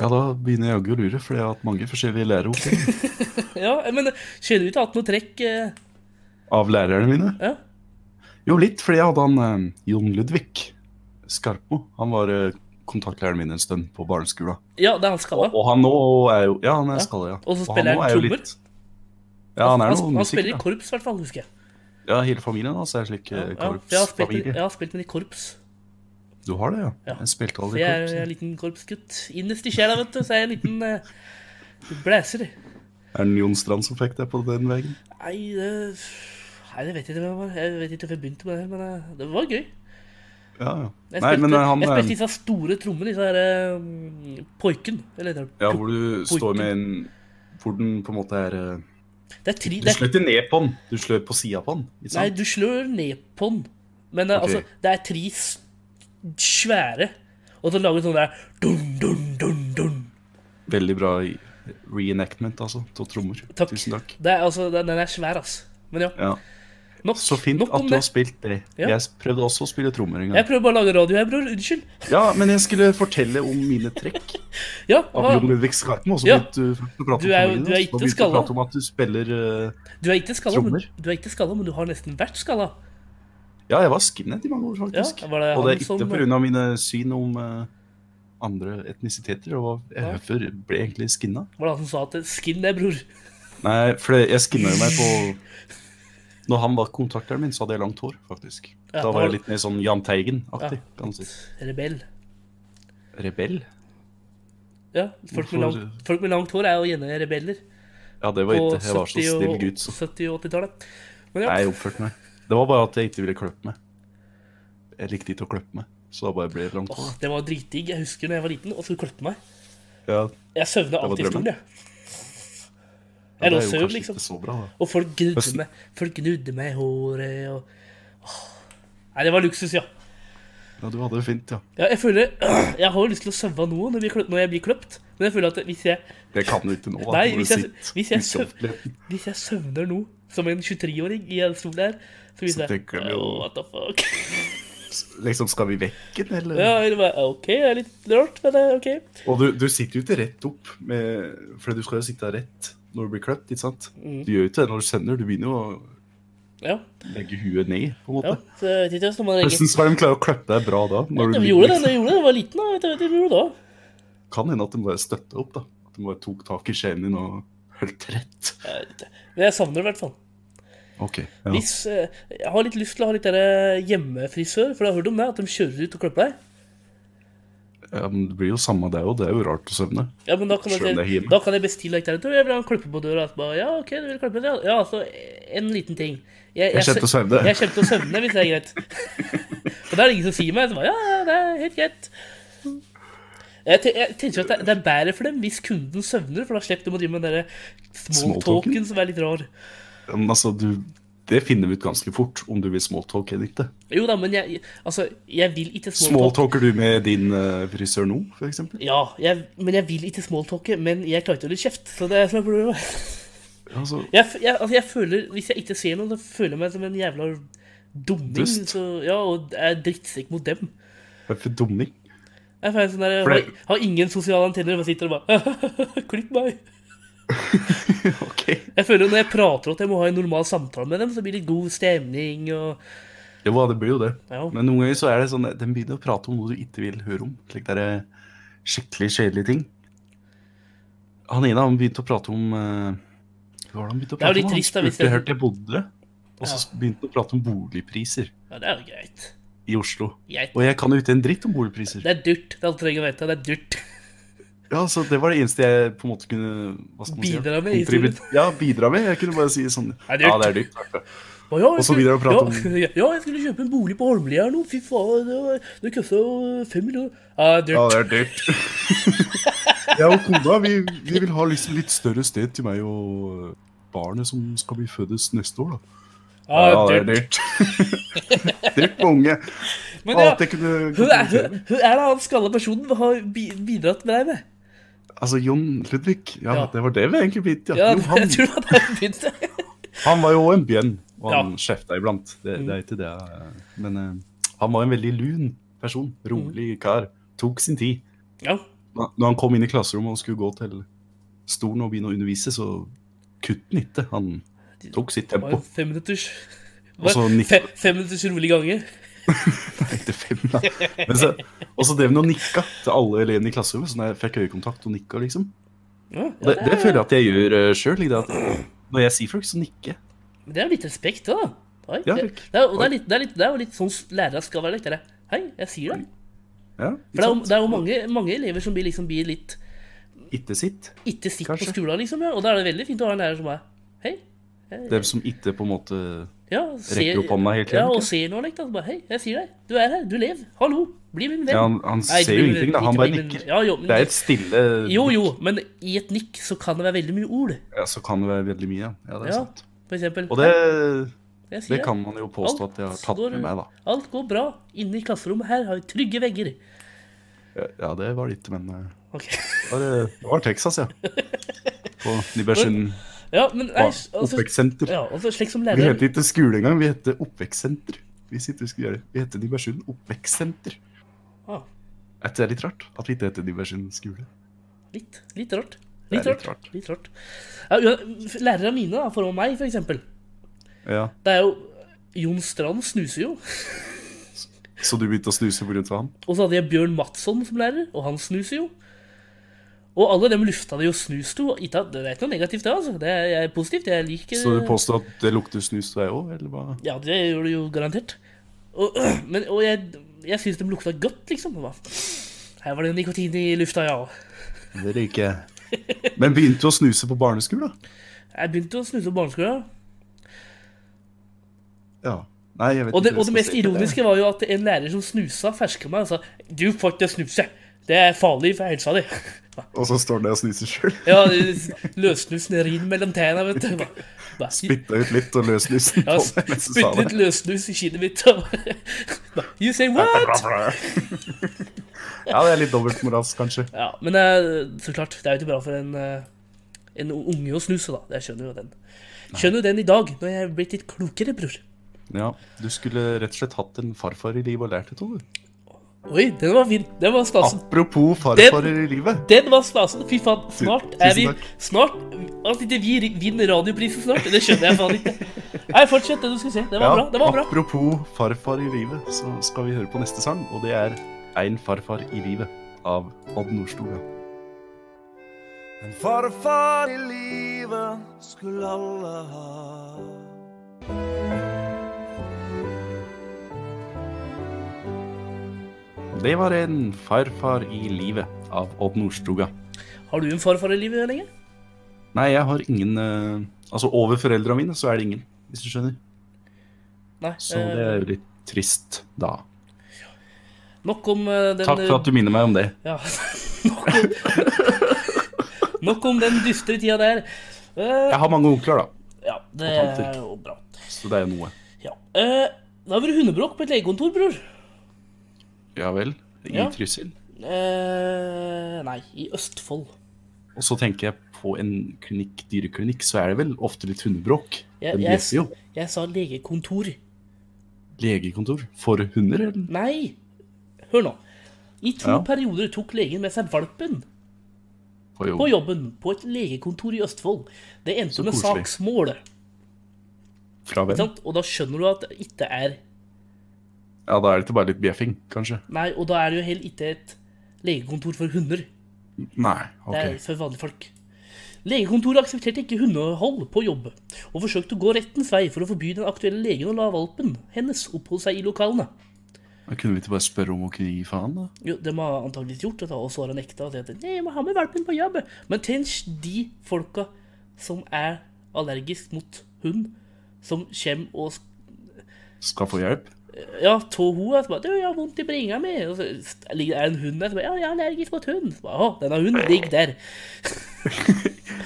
[SPEAKER 3] Ja, da begynner jeg jaggu å lure, for jeg har hatt mange forskjellige lærere opp igjen.
[SPEAKER 2] Ja, men Kjenner du ikke hatt noe trekk eh,
[SPEAKER 3] av lærerne mine.
[SPEAKER 2] Ja.
[SPEAKER 3] Jo, litt, fordi jeg hadde han eh, Jon Ludvig Skarpo. Han var eh, kontaktlæreren min en stund på barneskolen.
[SPEAKER 2] Ja, det er han skalla.
[SPEAKER 3] Og han nå er jo Ja, han
[SPEAKER 2] Ja.
[SPEAKER 3] er skalla, ja.
[SPEAKER 2] Og så
[SPEAKER 3] han
[SPEAKER 2] spiller
[SPEAKER 3] nå
[SPEAKER 2] han
[SPEAKER 3] er jo
[SPEAKER 2] trommer.
[SPEAKER 3] litt- Ja, han er
[SPEAKER 2] Han,
[SPEAKER 3] noen
[SPEAKER 2] han spiller i
[SPEAKER 3] musiker. da.
[SPEAKER 2] korps, i hvert fall, husker jeg.
[SPEAKER 3] Ja, hele familien hans er slik
[SPEAKER 2] Ja,
[SPEAKER 3] eh,
[SPEAKER 2] ja, for jeg, har spilt, med-
[SPEAKER 3] korpsfamilie.
[SPEAKER 2] jeg har spilt med i korps.
[SPEAKER 3] Du har det, ja?
[SPEAKER 2] Ja.
[SPEAKER 3] Jeg spilte
[SPEAKER 2] For
[SPEAKER 3] aldri i
[SPEAKER 2] jeg er, jeg
[SPEAKER 3] korps.
[SPEAKER 2] er en liten korpsgutt. Innerst i sjela, vet du, så er jeg en liten eh, blæser.
[SPEAKER 3] Er det Jon Strand som fikk deg på den veien?
[SPEAKER 2] Nei, det Nei, det vet jeg ikke hvem det var. Jeg vet ikke hvorfor jeg begynte med det, men eh, det var gøy.
[SPEAKER 3] Ja, ja. Nei,
[SPEAKER 2] Jeg spilte,
[SPEAKER 3] men eh, han
[SPEAKER 2] jeg
[SPEAKER 3] eh,
[SPEAKER 2] spilte disse store trommene, disse her eh, Poiken, eller heter det?
[SPEAKER 3] Ja, hvor du står
[SPEAKER 2] Porten.
[SPEAKER 3] med en Hvor den på en måte er eh,
[SPEAKER 2] Det er tre
[SPEAKER 3] Du
[SPEAKER 2] det er,
[SPEAKER 3] slår ikke ned på den, du slår på sida på den. Ikke
[SPEAKER 2] Nei,
[SPEAKER 3] sant?
[SPEAKER 2] du slår ned på den. Men eh,
[SPEAKER 3] Ok.
[SPEAKER 2] altså, det er tre s- svære Og så lager du sånn der dun, dun, dun, dun.
[SPEAKER 3] Veldig bra i- reenactment, altså, av trommer.
[SPEAKER 2] Takk.
[SPEAKER 3] Tusen takk.
[SPEAKER 2] Det er, altså, den, den er svær, ass. Men ja,
[SPEAKER 3] Ja.
[SPEAKER 2] nok,
[SPEAKER 3] Så fint
[SPEAKER 2] nok
[SPEAKER 3] at
[SPEAKER 2] om
[SPEAKER 3] du har
[SPEAKER 2] det.
[SPEAKER 3] spilt det.
[SPEAKER 2] Ja.
[SPEAKER 3] Jeg s- prøvde også å spille trommer en gang.
[SPEAKER 2] Jeg prøver bare å lage radio her, bror. Unnskyld.
[SPEAKER 3] Ja, men jeg skulle fortelle om mine trekk
[SPEAKER 2] Ja,
[SPEAKER 3] av
[SPEAKER 2] hva?
[SPEAKER 3] Jon Ludvig Skarpen. Og så
[SPEAKER 2] Ah. Ja.
[SPEAKER 3] begynte du først å prate
[SPEAKER 2] Du er jo-
[SPEAKER 3] om familien, og
[SPEAKER 2] du er
[SPEAKER 3] så
[SPEAKER 2] ikke
[SPEAKER 3] begynte du å
[SPEAKER 2] skalla.
[SPEAKER 3] prate om at du spiller eh,
[SPEAKER 2] Du er ikke skalla, men,
[SPEAKER 3] Trommer.
[SPEAKER 2] du er ikke skalla, men du har nesten vært skalla.
[SPEAKER 3] Ja, jeg var skinhead i mange år, faktisk.
[SPEAKER 2] Ja, var det
[SPEAKER 3] og det
[SPEAKER 2] han
[SPEAKER 3] er
[SPEAKER 2] som-
[SPEAKER 3] ikke pga. mine syn om eh, andre etnisiteter. Og jeg
[SPEAKER 2] Ja.
[SPEAKER 3] før ble egentlig skinna.
[SPEAKER 2] Var det han som sa at 'skin det, bror'?
[SPEAKER 3] Nei, for det- jeg skinna jo meg på Når han var kontakteren min, så hadde jeg langt hår, faktisk. da
[SPEAKER 2] Ja, da-
[SPEAKER 3] var jeg litt mer sånn Jahn Teigen-aktig.
[SPEAKER 2] Ja.
[SPEAKER 3] kan man si.
[SPEAKER 2] Rebell.
[SPEAKER 3] Rebell?
[SPEAKER 2] Ja, folk
[SPEAKER 3] Hvorfor-
[SPEAKER 2] med, langt, folk med langt hår er jo gjerne rebeller.
[SPEAKER 3] Ja, det var
[SPEAKER 2] På
[SPEAKER 3] ikke Jeg var så
[SPEAKER 2] 70-
[SPEAKER 3] snill
[SPEAKER 2] og
[SPEAKER 3] gutt, så
[SPEAKER 2] 70- og 80-tallet. Men ja,
[SPEAKER 3] Nei, jeg oppførte meg. Det var bare at jeg ikke ville kløpe meg. Jeg likte ikke å kløpe meg, så da bare ble jeg langt hår.
[SPEAKER 2] åh, det var dritdigg. Jeg husker når jeg var liten og skulle klippe meg.
[SPEAKER 3] Ja,
[SPEAKER 2] Jeg søvna
[SPEAKER 3] var
[SPEAKER 2] alltid
[SPEAKER 3] drømmen.
[SPEAKER 2] stort, jeg.
[SPEAKER 3] ja,
[SPEAKER 2] Jeg
[SPEAKER 3] det
[SPEAKER 2] lå
[SPEAKER 3] er
[SPEAKER 2] og
[SPEAKER 3] jo
[SPEAKER 2] søv,
[SPEAKER 3] kanskje
[SPEAKER 2] liksom.
[SPEAKER 3] ikke så bra, da.
[SPEAKER 2] Og folk gnudde
[SPEAKER 3] Høsten.
[SPEAKER 2] meg, folk gnudde meg i håret og Åh. Nei, det var luksus, ja.
[SPEAKER 3] Ja, du hadde det fint, ja.
[SPEAKER 2] ja jeg føler Jeg har jo lyst til å søvne nå når, vi klø- når jeg blir kløpt, men jeg føler at hvis jeg,
[SPEAKER 3] Det kan du ikke nå. da.
[SPEAKER 2] Nei,
[SPEAKER 3] når du
[SPEAKER 2] hvis jeg-
[SPEAKER 3] sitter
[SPEAKER 2] hvis jeg
[SPEAKER 3] ute i
[SPEAKER 2] søv-
[SPEAKER 3] offentligheten.
[SPEAKER 2] hvis jeg søvner nå, som en 23-åring i en stol der, så
[SPEAKER 3] Så
[SPEAKER 2] viser jeg
[SPEAKER 3] tenker de jo-
[SPEAKER 2] «Åh, What the fuck?
[SPEAKER 3] Liksom, skal vi vekke den, eller?
[SPEAKER 2] Ja, det var, OK, det er litt rart, men det er OK.
[SPEAKER 3] Og du, du sitter jo ikke rett opp, med, for du skal jo sitte rett når du blir kløpt, ikke sant?
[SPEAKER 2] Mm.
[SPEAKER 3] Du gjør jo ikke det når du sender, du begynner jo å
[SPEAKER 2] Ja.
[SPEAKER 3] legge huet ned, på en
[SPEAKER 2] ja.
[SPEAKER 3] måte.
[SPEAKER 2] Så jeg vet ikke hvordan man legger
[SPEAKER 3] Hvordan skal de klare å kløppe deg bra da? Når du
[SPEAKER 2] Vi
[SPEAKER 3] ligger,
[SPEAKER 2] gjorde det,
[SPEAKER 3] liksom?
[SPEAKER 2] vi gjorde det, jeg var liten da. Vet du, vet du, vi gjorde det da.
[SPEAKER 3] Kan hende at de bare støtter opp, da. At de bare tok tak i skjeen din og holdt rett.
[SPEAKER 2] Jeg vet ikke. Men jeg savner det i hvert fall.
[SPEAKER 3] Ok, ja.
[SPEAKER 2] Hvis, eh, jeg har litt lyst til å ha litt der hjemmefrisør, for jeg har hørt om det, at de kjører ut og klipper deg.
[SPEAKER 3] Ja, men det blir jo samme det òg, det er jo rart å søvne.
[SPEAKER 2] Ja, men da kan,
[SPEAKER 3] Selv om det er
[SPEAKER 2] jeg,
[SPEAKER 3] hjemme.
[SPEAKER 2] da kan jeg bestille like, der, du, jeg vil ha en klippe på døra. og så Bare, ja, ok, du vil klippe deg. Ja, altså, en liten ting. Jeg,
[SPEAKER 3] Jeg kjente å søvne.
[SPEAKER 2] Jeg kjente å søvne, hvis det er greit. Og da er det ingen som sier meg. Så bare, ja, ja, det er helt greit. Jeg, te- jeg tenker at det, det er bedre for dem hvis kunden søvner, for da slipper de å drive med den derre smalltalken
[SPEAKER 3] Smalltalken?
[SPEAKER 2] som er litt rar.
[SPEAKER 3] Men altså, du, det finner vi ut ganske fort, om du vil smalltalk eller ikke.
[SPEAKER 2] Jo da, men jeg, altså, jeg vil ikke smalltalk.
[SPEAKER 3] Smalltalker du med din eh, frisør nå, f.eks.?
[SPEAKER 2] Ja, jeg, men jeg vil ikke smalltalke, men jeg klarer ikke å holde kjeft. Så det er som er problemet.
[SPEAKER 3] Altså,
[SPEAKER 2] Jeg, f- jeg, altså, jeg føler, hvis jeg ikke ser noen, så føler jeg meg som en jævla dumming.
[SPEAKER 3] Dust.
[SPEAKER 2] Så, ja, og er drittsekk mot dem.
[SPEAKER 3] hvorfor dumming?
[SPEAKER 2] Jeg, er sånn der, jeg
[SPEAKER 3] For det-
[SPEAKER 2] har, har ingen sosiale antenner, bare sitter og bare Klipp meg.
[SPEAKER 3] Ok.
[SPEAKER 2] Jeg føler når jeg prater at jeg må ha en normal samtale med dem, så blir det god stemning og
[SPEAKER 3] Jo, ja, det blir jo det.
[SPEAKER 2] Ja.
[SPEAKER 3] Men noen ganger så er det sånn at de begynner å prate om noe du ikke vil høre om. Slik der eh, skikkelig kjedelige ting. Han ene han begynte å prate om eh, Hva var det han begynte å
[SPEAKER 2] Det er jo
[SPEAKER 3] prate
[SPEAKER 2] litt
[SPEAKER 3] om?
[SPEAKER 2] trist, da,
[SPEAKER 3] han
[SPEAKER 2] hvis
[SPEAKER 3] spurte
[SPEAKER 2] det-
[SPEAKER 3] hvor jeg bodde, og så
[SPEAKER 2] Ja.
[SPEAKER 3] begynte han å prate om boligpriser
[SPEAKER 2] Ja, det er jo greit.
[SPEAKER 3] i Oslo.
[SPEAKER 2] Greit.
[SPEAKER 3] Og jeg kan jo ikke en dritt om boligpriser.
[SPEAKER 2] Det er dyrt. Det er alt du trenger å vite. Det er dyrt.
[SPEAKER 3] Ja, så Det var det eneste jeg på en måte kunne hva skal man si,
[SPEAKER 2] Bidra med i
[SPEAKER 3] kontribu-
[SPEAKER 2] historien.
[SPEAKER 3] Ja, bidra med. Jeg kunne bare si sånn
[SPEAKER 2] er dyrt.
[SPEAKER 3] Ja, det er dyrt. vet du.
[SPEAKER 2] Å, ja, jeg
[SPEAKER 3] Og så
[SPEAKER 2] skulle-
[SPEAKER 3] begynner jeg å prate
[SPEAKER 2] ja, ja, jeg skulle kjøpe en bolig på Holmlia eller noe. Fy faen, det, var- det kosta jo fem millioner. Ja, det er
[SPEAKER 3] Ja,
[SPEAKER 2] dyrt.
[SPEAKER 3] det er dyrt. Jeg og kona vi, vi vil ha liksom litt større sted til meg og eh, barnet som skal bli fødes neste år. da.
[SPEAKER 2] Ja, ah, det er dyrt.
[SPEAKER 3] dyrt. Dyrt på unge.
[SPEAKER 2] Men
[SPEAKER 3] Ah,
[SPEAKER 2] ja,
[SPEAKER 3] at jeg kunne
[SPEAKER 2] hun er,
[SPEAKER 3] kommentere.
[SPEAKER 2] hun, hun er den andre skalla personen har bi- bidratt med deg med.
[SPEAKER 3] Altså, Jon Ludvig. Ja,
[SPEAKER 2] Ja.
[SPEAKER 3] det var det vi egentlig begynte. Ja.
[SPEAKER 2] Ja,
[SPEAKER 3] Jo,
[SPEAKER 2] jeg
[SPEAKER 3] han,
[SPEAKER 2] tror at jeg begynte.
[SPEAKER 3] han var jo også en bjønn, og han
[SPEAKER 2] Ja. Mm.
[SPEAKER 3] skjefta iblant. Det, det er ikke det. eh, Men eh, han var en veldig lun person. Rolig kar. Tok sin tid.
[SPEAKER 2] Ja,
[SPEAKER 3] Når når han kom inn i klasserommet og skulle gå til stolen og begynne å undervise, så kutt han ikke. Han tok sitt
[SPEAKER 2] det var
[SPEAKER 3] tempo.
[SPEAKER 2] en femminutters
[SPEAKER 3] Og så nikka
[SPEAKER 2] fe, Femminutters rolig gange.
[SPEAKER 3] etter fem, da. Men så, og så drev han og nikka til alle elevene i klasserommet, så når jeg fikk øyekontakt og nikka, liksom.
[SPEAKER 2] Ja,
[SPEAKER 3] Og det, det føler jeg at jeg gjør uh, sjøl. Når jeg sier folk, så nikker jeg.
[SPEAKER 2] Men det er jo litt respekt, da. Oi,
[SPEAKER 3] Ja,
[SPEAKER 2] det,
[SPEAKER 3] takk.
[SPEAKER 2] det, er, og det, er litt, det, er litt, det er jo litt sånn lærere skal være. Litt, Hei, jeg sier det.
[SPEAKER 3] Ja,
[SPEAKER 2] For det er jo,
[SPEAKER 3] ikke sant?
[SPEAKER 2] det er jo mange, mange elever som blir, liksom, blir litt
[SPEAKER 3] Ikke sitt.
[SPEAKER 2] ikke sitt på
[SPEAKER 3] Kanskje.
[SPEAKER 2] skolen, liksom. Ja. Og da er det veldig fint å ha en lærer som er Hei.
[SPEAKER 3] Dem som ikke på en måte
[SPEAKER 2] Ja, ser-
[SPEAKER 3] opp hånda hele tiden,
[SPEAKER 2] Ja, og
[SPEAKER 3] ikke?
[SPEAKER 2] ser noe, liksom. Bare, Hei, jeg sier deg. Du er her. Du lever. Hallo. Bli min venn.
[SPEAKER 3] ja, Han, han
[SPEAKER 2] Nei,
[SPEAKER 3] ser
[SPEAKER 2] bli
[SPEAKER 3] jo
[SPEAKER 2] min
[SPEAKER 3] ingenting, da.
[SPEAKER 2] venn.
[SPEAKER 3] Han
[SPEAKER 2] Ikke
[SPEAKER 3] bare
[SPEAKER 2] bli min-
[SPEAKER 3] nikker.
[SPEAKER 2] Ja, jo, men,
[SPEAKER 3] Det er et stille
[SPEAKER 2] Jo, jo, men i et nikk så kan det være veldig mye ord.
[SPEAKER 3] Ja, Så kan det være veldig mye. ja. Ja, det er
[SPEAKER 2] Ja,
[SPEAKER 3] sant.
[SPEAKER 2] for eksempel.
[SPEAKER 3] Og det,
[SPEAKER 2] Jeg sier
[SPEAKER 3] det kan man jo påstå at jeg har tatt
[SPEAKER 2] går-
[SPEAKER 3] med meg, da.
[SPEAKER 2] Alt går bra inne i klasserommet her. Har vi trygge vegger.
[SPEAKER 3] Ja, det var litt, men eh,
[SPEAKER 2] Ok.
[SPEAKER 3] det var, eh, det var Texas, ja. På Nybergsen
[SPEAKER 2] Ja, men nei, altså,
[SPEAKER 3] oppvekstsenter.
[SPEAKER 2] ja, altså slik som
[SPEAKER 3] Vi
[SPEAKER 2] læreren
[SPEAKER 3] heter ikke skole engang, vi heter oppvekstsenter. Vi sitter og skal gjøre det. Vi heter Nybergsund oppvekstsenter.
[SPEAKER 2] ah,
[SPEAKER 3] Er ikke det litt rart? At vi ikke heter Nybergsund skole.
[SPEAKER 2] Litt, litt rart.
[SPEAKER 3] Det
[SPEAKER 2] Litt
[SPEAKER 3] er litt
[SPEAKER 2] rart. Litt rart. Ja, ua- lærerne mine, da, for meg, for eksempel,
[SPEAKER 3] Ja,
[SPEAKER 2] det er jo Jon Strand snuser jo.
[SPEAKER 3] Så du begynte å snuse pga. han?
[SPEAKER 2] Og så hadde jeg Bjørn Mattsson som lærer, og han snuser jo. Og alle dem lufta det jo snus to. Ikke at- Det er ikke noe negativt, det. altså. Det er, jeg er positivt. Jeg liker
[SPEAKER 3] Så du påstår at det lukter snus til deg òg, eller hva?
[SPEAKER 2] Ja, det gjør det jo garantert. Og, men, og jeg, jeg syns de lukta godt, liksom. Det var- Her var det nikotin i lufta, ja.
[SPEAKER 3] Det røyker jeg. Men begynte du å snuse på barneskolen?
[SPEAKER 2] Jeg begynte å snuse på barneskolen.
[SPEAKER 3] Ja. Nei, jeg vet
[SPEAKER 2] Og det,
[SPEAKER 3] ikke
[SPEAKER 2] og
[SPEAKER 3] hva
[SPEAKER 2] det
[SPEAKER 3] jeg
[SPEAKER 2] mest
[SPEAKER 3] skal si.
[SPEAKER 2] ironiske var jo at en lærer som snusa, ferska meg og sa 'Du får ikke snuse. Det er farlig for helsa di'.
[SPEAKER 3] Og så står det og snuser sjøl.
[SPEAKER 2] Ja, løssnusen rir mellom tærne, vet du. Bare- bare-
[SPEAKER 3] Bytta ut litt og løs snusen
[SPEAKER 2] Ja,
[SPEAKER 3] på
[SPEAKER 2] sp-
[SPEAKER 3] deg mens du sa
[SPEAKER 2] spytte litt
[SPEAKER 3] det.
[SPEAKER 2] løssnus i kinnet mitt. og bare, you say what?
[SPEAKER 3] Ja, det er litt dobbeltmoralsk, kanskje.
[SPEAKER 2] Ja, men eh, så klart, det er jo ikke bra for en, eh, en unge å snuse, da. Jeg skjønner jo den. Skjønner jo den i dag, når jeg er blitt litt klokere, bror.
[SPEAKER 3] Ja, Du skulle rett og slett hatt en farfar i livet og lært det, Tove.
[SPEAKER 2] Oi, den var fin. Den var stasen.
[SPEAKER 3] Apropos farfarer i livet.
[SPEAKER 2] Den var stasen. Fy faen, snart er vi
[SPEAKER 3] Tusen takk.
[SPEAKER 2] Snart At ikke vi ri- vinner radioprisen snart, det skjønner jeg faen ikke. Nei, fortsett det du skulle si. Det var bra. Det var bra.
[SPEAKER 3] apropos farfar i livet, så skal vi høre på neste sang, og det er Ein farfar i livet av Odd Nordstoga.
[SPEAKER 1] En farfar i livet skulle alle ha.
[SPEAKER 3] Det var en farfar i livet av Odd Nordstoga.
[SPEAKER 2] Har du en farfar i livet lenger?
[SPEAKER 3] Nei, jeg har ingen eh, Altså, over foreldra mine så er det ingen, hvis du skjønner.
[SPEAKER 2] Nei.
[SPEAKER 3] Så det
[SPEAKER 2] eh,
[SPEAKER 3] er jo litt trist, da.
[SPEAKER 2] Nok om eh, den eh,
[SPEAKER 3] Takk for at du minner meg om det.
[SPEAKER 2] Ja, nok om, nok om den dystre tida der. Eh,
[SPEAKER 3] Jeg har mange onkler, da,
[SPEAKER 2] ja, det
[SPEAKER 3] og tanter.
[SPEAKER 2] er jo bra.
[SPEAKER 3] så det er jo noe.
[SPEAKER 2] Ja. Eh, det har vært hundebråk på et legekontor, bror.
[SPEAKER 3] Ja vel. I
[SPEAKER 2] Ja.
[SPEAKER 3] Trysil.
[SPEAKER 2] Eh, nei, i Østfold.
[SPEAKER 3] Og så tenker jeg på en klinikk, dyreklinikk, så er det vel ofte litt hundebråk.
[SPEAKER 2] Jeg,
[SPEAKER 3] De
[SPEAKER 2] jeg,
[SPEAKER 3] bjeffer jo.
[SPEAKER 2] jeg sa legekontor.
[SPEAKER 3] Legekontor for hunder, eller?
[SPEAKER 2] Nei, hør nå. I to
[SPEAKER 3] Ja.
[SPEAKER 2] perioder tok legen med seg valpen
[SPEAKER 3] På jobb.
[SPEAKER 2] på jobben på et legekontor i Østfold. Det endte
[SPEAKER 3] Så
[SPEAKER 2] med
[SPEAKER 3] koselig.
[SPEAKER 2] saksmål. Ikke
[SPEAKER 3] Fra hvem?
[SPEAKER 2] sant? Og da skjønner du at det ikke er
[SPEAKER 3] Ja, da er det ikke bare litt bjeffing, kanskje.
[SPEAKER 2] Nei, og da er det jo heller ikke et legekontor for hunder.
[SPEAKER 3] Nei, ok.
[SPEAKER 2] Det er for vanlige folk. Legekontoret aksepterte ikke hundehold på jobb, og forsøkte å gå rettens vei for å forby den aktuelle legen å la valpen hennes oppholde seg i lokalene.
[SPEAKER 3] Da kunne vi ikke bare spørre om å kunne gi faen, da?
[SPEAKER 2] Jo, De har antakeligvis gjort det, da, og så har han nekta og sagt at «Nei, jeg må ha med valpen på jobb. Men tenk de folka som er allergisk mot hund, som kommer og
[SPEAKER 3] Skal få hjelp?
[SPEAKER 2] Ja, tå hun er så bare, du, jeg har vondt i bringa mi. Og så er det en hund der som bare, ja, jeg er allergisk mot hund. Så bare, Å, denne hunden ligger der.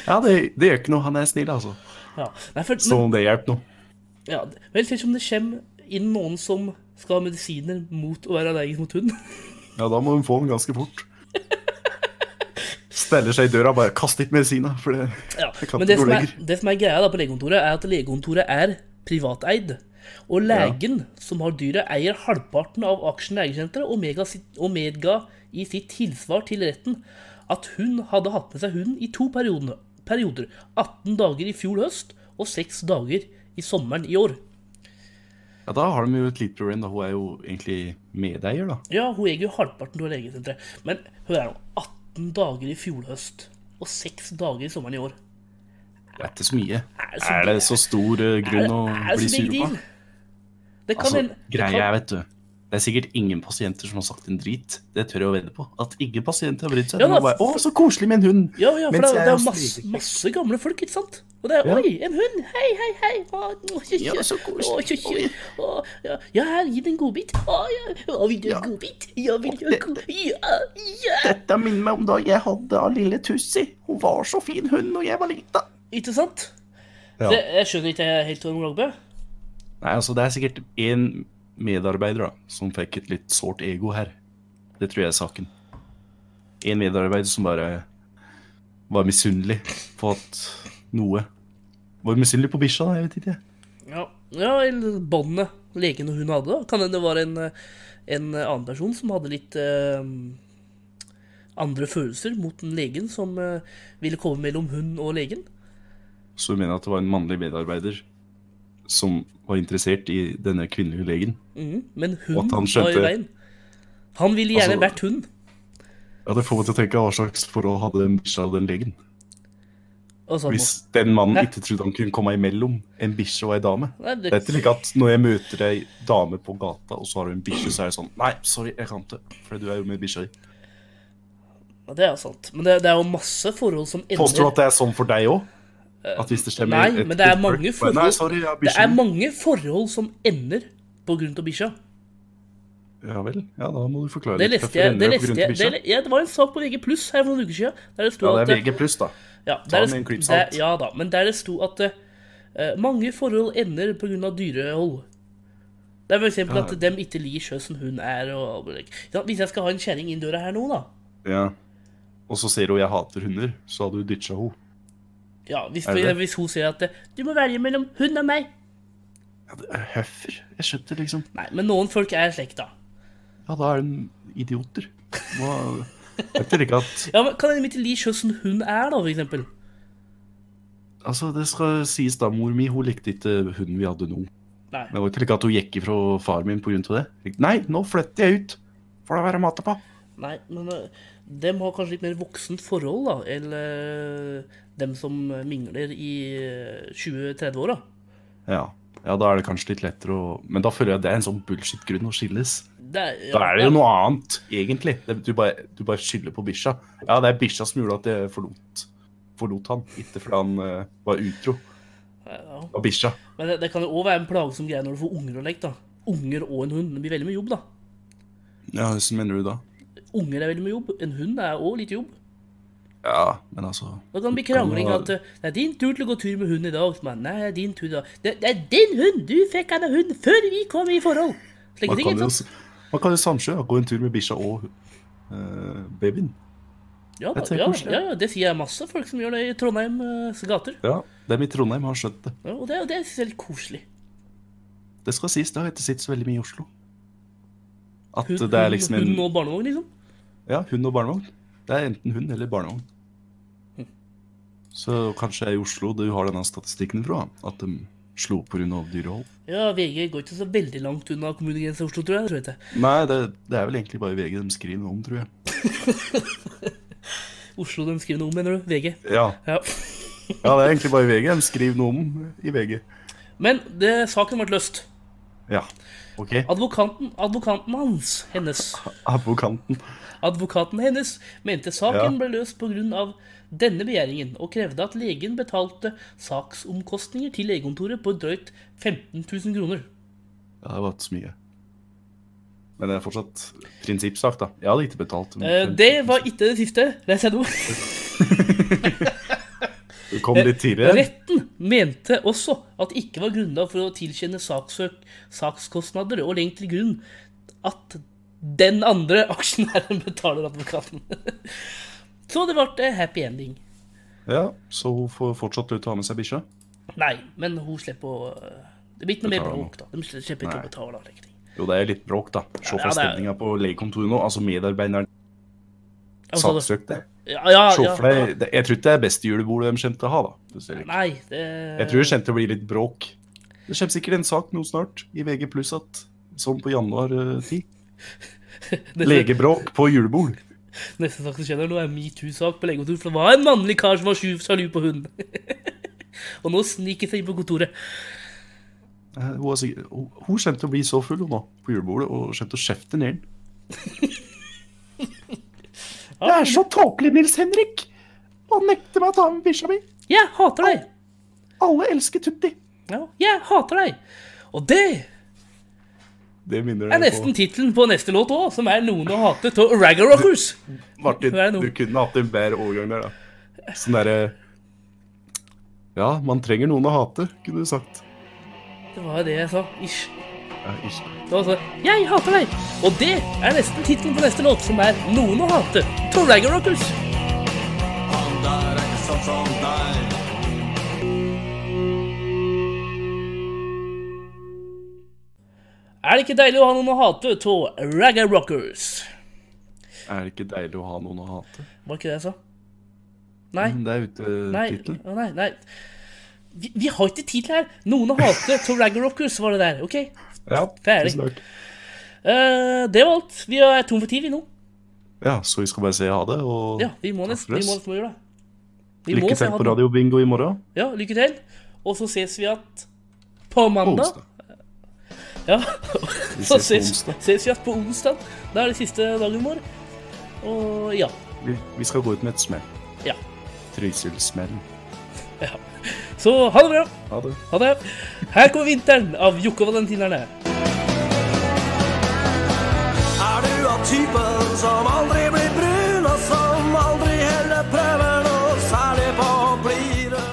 [SPEAKER 3] Ja, det, det gjør ikke noe. Han er snill, altså.
[SPEAKER 2] Ja. Nei, for,
[SPEAKER 3] Som om det hjelper noe.
[SPEAKER 2] Ja, vel, tenk om det kommer inn noen som skal ha medisiner mot å være allergisk mot hund.
[SPEAKER 3] Ja, da må hun få den ganske fort. Steller seg i døra, bare kast litt medisin, da. For det
[SPEAKER 2] Ja,
[SPEAKER 3] Jeg kan ikke
[SPEAKER 2] Men det
[SPEAKER 3] gå
[SPEAKER 2] som, er,
[SPEAKER 3] lenger.
[SPEAKER 2] det som er greia da på legekontoret, er at legekontoret er privateid. Og legen som har dyret, eier halvparten av aksjen i legesenteret og mega sitt- og medga i sitt tilsvar til retten at hun hadde hatt med seg hunden i to perioder. perioder 18 dager i fjor høst og 6 dager i sommeren i år.
[SPEAKER 3] Ja, da har de jo et lite problem, da. Hun er jo egentlig medeier, da.
[SPEAKER 2] Ja, hun eier jo halvparten av legesenteret. Men hør her nå. 18 dager i fjor høst og 6 dager i sommeren i år.
[SPEAKER 3] Det er ikke så mye.
[SPEAKER 2] Er det så-
[SPEAKER 3] Er det så stor eh, grunn å
[SPEAKER 2] Er det
[SPEAKER 3] bli
[SPEAKER 2] så
[SPEAKER 3] sur
[SPEAKER 2] big
[SPEAKER 3] på?
[SPEAKER 2] deal? Det kan
[SPEAKER 3] Altså,
[SPEAKER 2] en- det
[SPEAKER 3] greia
[SPEAKER 2] kan-
[SPEAKER 3] er, vet du Det er sikkert ingen pasienter som har sagt en drit. Det tør jeg å vedde på. At ingen pasienter har brydd seg. De
[SPEAKER 2] Ja,
[SPEAKER 3] har
[SPEAKER 2] da,
[SPEAKER 3] bare,
[SPEAKER 2] for-
[SPEAKER 3] Å, så koselig med en hund!
[SPEAKER 2] Ja, ja, for
[SPEAKER 3] Mens jeg
[SPEAKER 2] det, er- det er
[SPEAKER 3] har
[SPEAKER 2] masse,
[SPEAKER 3] sniket.
[SPEAKER 2] masse gamle folk, ikke sant? Og det er
[SPEAKER 3] Ja.
[SPEAKER 2] Oi, en hund! Hei, hei, hei! Å, å, kjø,
[SPEAKER 3] Ja,
[SPEAKER 2] kjø.
[SPEAKER 3] så koselig.
[SPEAKER 2] Å, kjø, kjø. Å, ja. ja, her, gi den en godbit. Å, ja. Å, vil du ha en godbit? Ja, vil du ha en godbit? Ja, ja!
[SPEAKER 3] Dette minner meg om da jeg hadde av lille Tussi. Hun var så fin hund når jeg var lita.
[SPEAKER 2] Ikke sant?
[SPEAKER 3] Ja.
[SPEAKER 2] Det, jeg skjønner ikke helt Tormod Lagbø.
[SPEAKER 3] Nei, altså, det er sikkert én medarbeider da, som fikk et litt sårt ego her. Det tror jeg er saken. en medarbeider som bare var misunnelig på at noe Var misunnelig på bikkja, da. Jeg vet ikke. jeg.
[SPEAKER 2] Ja, ja eller båndet legen og hun hadde. da. Kan hende det var en, eh, en annen person som hadde litt eh, andre følelser mot den legen, som eh, ville komme mellom hun og legen.
[SPEAKER 3] Så hun mener at det var en mannlig medarbeider som var interessert i denne kvinnelige legen.
[SPEAKER 2] Mhm, Men
[SPEAKER 3] Og
[SPEAKER 2] hun
[SPEAKER 3] at han
[SPEAKER 2] var i
[SPEAKER 3] skjønte-
[SPEAKER 2] veien. Han ville gjerne
[SPEAKER 3] Altså-
[SPEAKER 2] vært hun.
[SPEAKER 3] Ja, Det får meg til å tenke hva slags forhold hadde den bikkja og den legen?
[SPEAKER 2] Og sånn.
[SPEAKER 3] Hvis den mannen
[SPEAKER 2] Hæ?
[SPEAKER 3] ikke trodde han kunne komme imellom en bikkje og ei dame.
[SPEAKER 2] Nei,
[SPEAKER 3] Det
[SPEAKER 2] det-
[SPEAKER 3] er ikke like at når jeg møter ei dame på gata, og så har hun en bikkje, så er det sånn Nei, sorry, jeg kan ikke, for du er jo med bikkja di.
[SPEAKER 2] Ja, det er sant. Men det, det er jo masse forhold som ender
[SPEAKER 3] Påstår du at det er sånn for deg òg? At hvis det stemmer
[SPEAKER 2] Nei,
[SPEAKER 3] et-
[SPEAKER 2] men det er
[SPEAKER 3] et
[SPEAKER 2] mange
[SPEAKER 3] folk, bare, Nei,
[SPEAKER 2] forhold-
[SPEAKER 3] sorry, jeg har
[SPEAKER 2] Det
[SPEAKER 3] bikkja
[SPEAKER 2] er
[SPEAKER 3] di.
[SPEAKER 2] mange forhold som ender på grunn av bikkja.
[SPEAKER 3] Ja vel. Ja, da må du forklare
[SPEAKER 2] Det
[SPEAKER 3] litt.
[SPEAKER 2] leste
[SPEAKER 3] Hvorfor
[SPEAKER 2] jeg. Det,
[SPEAKER 3] ender på
[SPEAKER 2] leste
[SPEAKER 3] grunn til
[SPEAKER 2] jeg
[SPEAKER 3] bikkja?
[SPEAKER 2] det, le- ja, det var en sak på VG pluss her for noen uker siden. Der det sto
[SPEAKER 3] Ja,
[SPEAKER 2] at eh,
[SPEAKER 3] det er VG pluss, da.
[SPEAKER 2] Ja,
[SPEAKER 3] Ta
[SPEAKER 2] der,
[SPEAKER 3] med en klype
[SPEAKER 2] det-
[SPEAKER 3] salt.
[SPEAKER 2] ja da, men der det sto at eh, mange forhold ender pga. dyrehold. Det er f.eks. eksempel at dem ikke liker sjø som hun er. Og, Ja, hvis jeg skal ha en kjerring inn døra her nå, da
[SPEAKER 3] Ja. Og så sier hun 'jeg hater hunder', så hadde du ditcha henne.
[SPEAKER 2] ja, hvis,
[SPEAKER 3] Er det det?
[SPEAKER 2] hvis hun sier at eh, 'du må velge mellom hun og meg'
[SPEAKER 3] Ja, det er Hvorfor? Jeg skjønner liksom
[SPEAKER 2] Nei, men noen folk er slekt, da.
[SPEAKER 3] Ja, da er hun idioter. Hva Jeg tenker ikke at
[SPEAKER 2] Ja, men Kan hende de ikke liker sjø som hun er, da, for eksempel.
[SPEAKER 3] Altså, det skal sies da, mor mi, hun likte ikke hunden vi hadde nå.
[SPEAKER 2] Nei.
[SPEAKER 3] Det var ikke like at hun gikk ifra far min pga. det. Nei, nå flytter jeg ut! Får da være mat på.
[SPEAKER 2] Nei, men eh, dem har kanskje litt mer voksent forhold, da, eller dem som mingler i eh, 20-30-åra.
[SPEAKER 3] Ja. ja, da er det kanskje litt lettere å Men da føler jeg det er en sånn bullshit-grunn å skilles.
[SPEAKER 2] Det er-
[SPEAKER 3] Da
[SPEAKER 2] ja,
[SPEAKER 3] er det jo noe annet, egentlig. Det, du, bare, du bare skylder på bikkja. Ja, det er bikkja som gjorde at jeg forlot, forlot han. Ikke fordi han eh, var utro.
[SPEAKER 2] ja.
[SPEAKER 3] Det var bikkja.
[SPEAKER 2] Men det, det kan jo òg være en plagsom greie når du får unger og lek, da. Unger og en hund. Det blir veldig mye jobb, da.
[SPEAKER 3] Ja, hvordan mener du da?
[SPEAKER 2] Unger er veldig mye jobb. En hund er òg litt jobb.
[SPEAKER 3] Ja, men altså
[SPEAKER 2] Da kan det bli krangling
[SPEAKER 3] Kan
[SPEAKER 2] at eh, 'Det er din tur til å gå tur med hund i dag', som er 'Nei, det er din tur i dag'. Det, 'Det er din hund! Du fikk han av hund før vi kom i forhold!' Slike
[SPEAKER 3] Man
[SPEAKER 2] ting,
[SPEAKER 3] kan
[SPEAKER 2] ikke
[SPEAKER 3] jo,
[SPEAKER 2] sant?
[SPEAKER 3] man kan jo samkjøre. Gå en tur med bikkja og eh, babyen.
[SPEAKER 2] Ja, da,
[SPEAKER 3] Jeg tenker
[SPEAKER 2] ja,
[SPEAKER 3] koselig.
[SPEAKER 2] ja, ja, det sier jeg masse folk som gjør det i Trondheims gater.
[SPEAKER 3] Ja, Dem i Trondheim har skjønt det.
[SPEAKER 2] Ja, og det, og det syns jeg er litt koselig.
[SPEAKER 3] Det skal sies, det har jeg ikke sett så veldig mye i Oslo. At
[SPEAKER 2] Hun,
[SPEAKER 3] det er liksom en
[SPEAKER 2] hund og barnevogn, liksom.
[SPEAKER 3] ja, hund og barnevogn. Det er enten hund eller barnevogn. Så kanskje i Oslo du har denne statistikken fra, at de slo pga. dyrehold.
[SPEAKER 2] Ja, VG går ikke så veldig langt unna kommunegrensa i Oslo, tror jeg. Tror jeg ikke.
[SPEAKER 3] Nei, det, det er vel egentlig bare VG de skriver noe om, tror jeg.
[SPEAKER 2] Oslo de skriver noe om, mener du? VG.
[SPEAKER 3] Ja,
[SPEAKER 2] Ja.
[SPEAKER 3] ja det er egentlig bare VG de skriver noe om i VG.
[SPEAKER 2] Men det, saken ble løst.
[SPEAKER 3] Ja, OK.
[SPEAKER 2] Advokaten, advokaten hans, hennes,
[SPEAKER 3] Advokanten.
[SPEAKER 2] advokaten hennes mente saken
[SPEAKER 3] Ja.
[SPEAKER 2] ble løst pga. denne begjæringen, og krevde at legen betalte saksomkostninger til legekontoret på drøyt 15 000 kroner.
[SPEAKER 3] Ja, det var ikke så mye. Men det er fortsatt prinsippsak, da. Jeg hadde ikke betalt. men-
[SPEAKER 2] Eh, det var ikke det siste. Les jeg noe.
[SPEAKER 3] Du kom litt tidligere.
[SPEAKER 2] Retten mente også at det ikke var grunnlag for å tilkjenne saksøk, sakskostnader, og legge til grunn at den andre aksjonæren betaler advokaten. Så det ble happy ending.
[SPEAKER 3] Ja, Så hun får fortsatt lov til å ha med seg bikkja.
[SPEAKER 2] Nei, men hun slipper å eh, Det blir ikke noe mer
[SPEAKER 3] Betale
[SPEAKER 2] bråk, da. De slipper ikke
[SPEAKER 3] Nei.
[SPEAKER 2] å betale. og slike ting.
[SPEAKER 3] Jo, det er jo litt bråk, da. Se
[SPEAKER 2] Ja,
[SPEAKER 3] for
[SPEAKER 2] det er-
[SPEAKER 3] stemninga på legekontoret nå. Altså, medarbeideren
[SPEAKER 2] Ja, hva sa du?
[SPEAKER 3] saksøkte.
[SPEAKER 2] Altså, Ja, ja,
[SPEAKER 3] Se
[SPEAKER 2] ja.
[SPEAKER 3] for deg det- Jeg tror ikke det er beste julebordet de kommer til å ha, da. Det ser jeg ikke.
[SPEAKER 2] Nei, det
[SPEAKER 3] Jeg tror det kommer til å bli litt bråk. Det kommer sikkert en sak nå snart, i VG pluss at Sånn på januar-tid.
[SPEAKER 2] neste-
[SPEAKER 3] Legebråk på julebord.
[SPEAKER 2] Neste sak som skjer nå, er metoo-sak på legekontoret. For det var en mannlig kar som var sju- sjalu på hund. og nå sniker seg inn på kontoret.
[SPEAKER 3] Eh, Hun, er sikkert- hun hun kommer til å bli så full hun nå, på julebordet, og kommer til å skjefte ned den. Det er så tåpelig, Nils Henrik! Han nekter meg å ta med bikkja mi.
[SPEAKER 2] Jeg hater deg!
[SPEAKER 3] Alle elsker Tutti.
[SPEAKER 2] Ja, jeg hater deg! Og det
[SPEAKER 3] Det minner deg
[SPEAKER 2] er
[SPEAKER 3] på
[SPEAKER 2] nesten tittelen på neste låt òg, som er 'Noen å hate' av Raggarockers.
[SPEAKER 3] Martin,
[SPEAKER 2] Det er noe.
[SPEAKER 3] du kunne hatt en bedre overgang der, da. Sånn derre Ja, man trenger noen å hate, kunne du sagt.
[SPEAKER 2] Det var jo det jeg sa. Ish.
[SPEAKER 3] Ja, ish.
[SPEAKER 2] Det var sånn, Jeg hater deg! Og det er nesten tittelen på neste låt, som er Noen å hate. Torleger Rockers.
[SPEAKER 4] Han der er ikke sånn som deg.
[SPEAKER 2] Er det ikke deilig å ha noen å hate av Ragga Rockers?
[SPEAKER 3] Er det ikke deilig å ha noen å hate?
[SPEAKER 2] Var ikke det jeg sa? Nei.
[SPEAKER 3] Men Det er ute
[SPEAKER 2] Nei,
[SPEAKER 3] tittelen.
[SPEAKER 2] å nei, nei. Vi, vi har ikke tid til det her. Noen å hate av Ragga Rockers, var det der. OK?
[SPEAKER 3] Ja,
[SPEAKER 2] Ferdig.
[SPEAKER 3] tusen takk.
[SPEAKER 2] Eh, det var alt. Vi er tom for tid, vi nå.
[SPEAKER 3] Ja, så vi skal bare si ha det, og
[SPEAKER 2] Ja, vi må nesten,
[SPEAKER 3] for
[SPEAKER 2] vi må
[SPEAKER 3] oss.
[SPEAKER 2] nesten gjøre det. Vi må
[SPEAKER 3] lykke
[SPEAKER 2] se
[SPEAKER 3] til
[SPEAKER 2] han-
[SPEAKER 3] på Radio Bingo i morgen.
[SPEAKER 2] Ja, lykke til. Og så ses vi at på
[SPEAKER 3] På
[SPEAKER 2] mandag.
[SPEAKER 3] onsdag.
[SPEAKER 2] Ja,
[SPEAKER 3] Vi
[SPEAKER 2] så
[SPEAKER 3] ses på
[SPEAKER 2] ses,
[SPEAKER 3] onsdag.
[SPEAKER 2] ses vi at på onsdag. Da er det siste dagen vår. Og ja.
[SPEAKER 3] Vi, vi skal gå ut med et smell.
[SPEAKER 2] Ja.
[SPEAKER 3] Trysil-smell.
[SPEAKER 2] Så ha det bra.
[SPEAKER 3] Ha det.
[SPEAKER 2] Ha det. Her kommer vinteren av Jokke og Valentinerne.
[SPEAKER 4] Er du av typen som aldri blir brun, og som aldri heller prøver noe særlig på å bli det?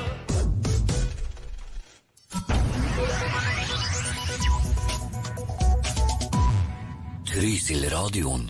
[SPEAKER 5] Trysil-radioen.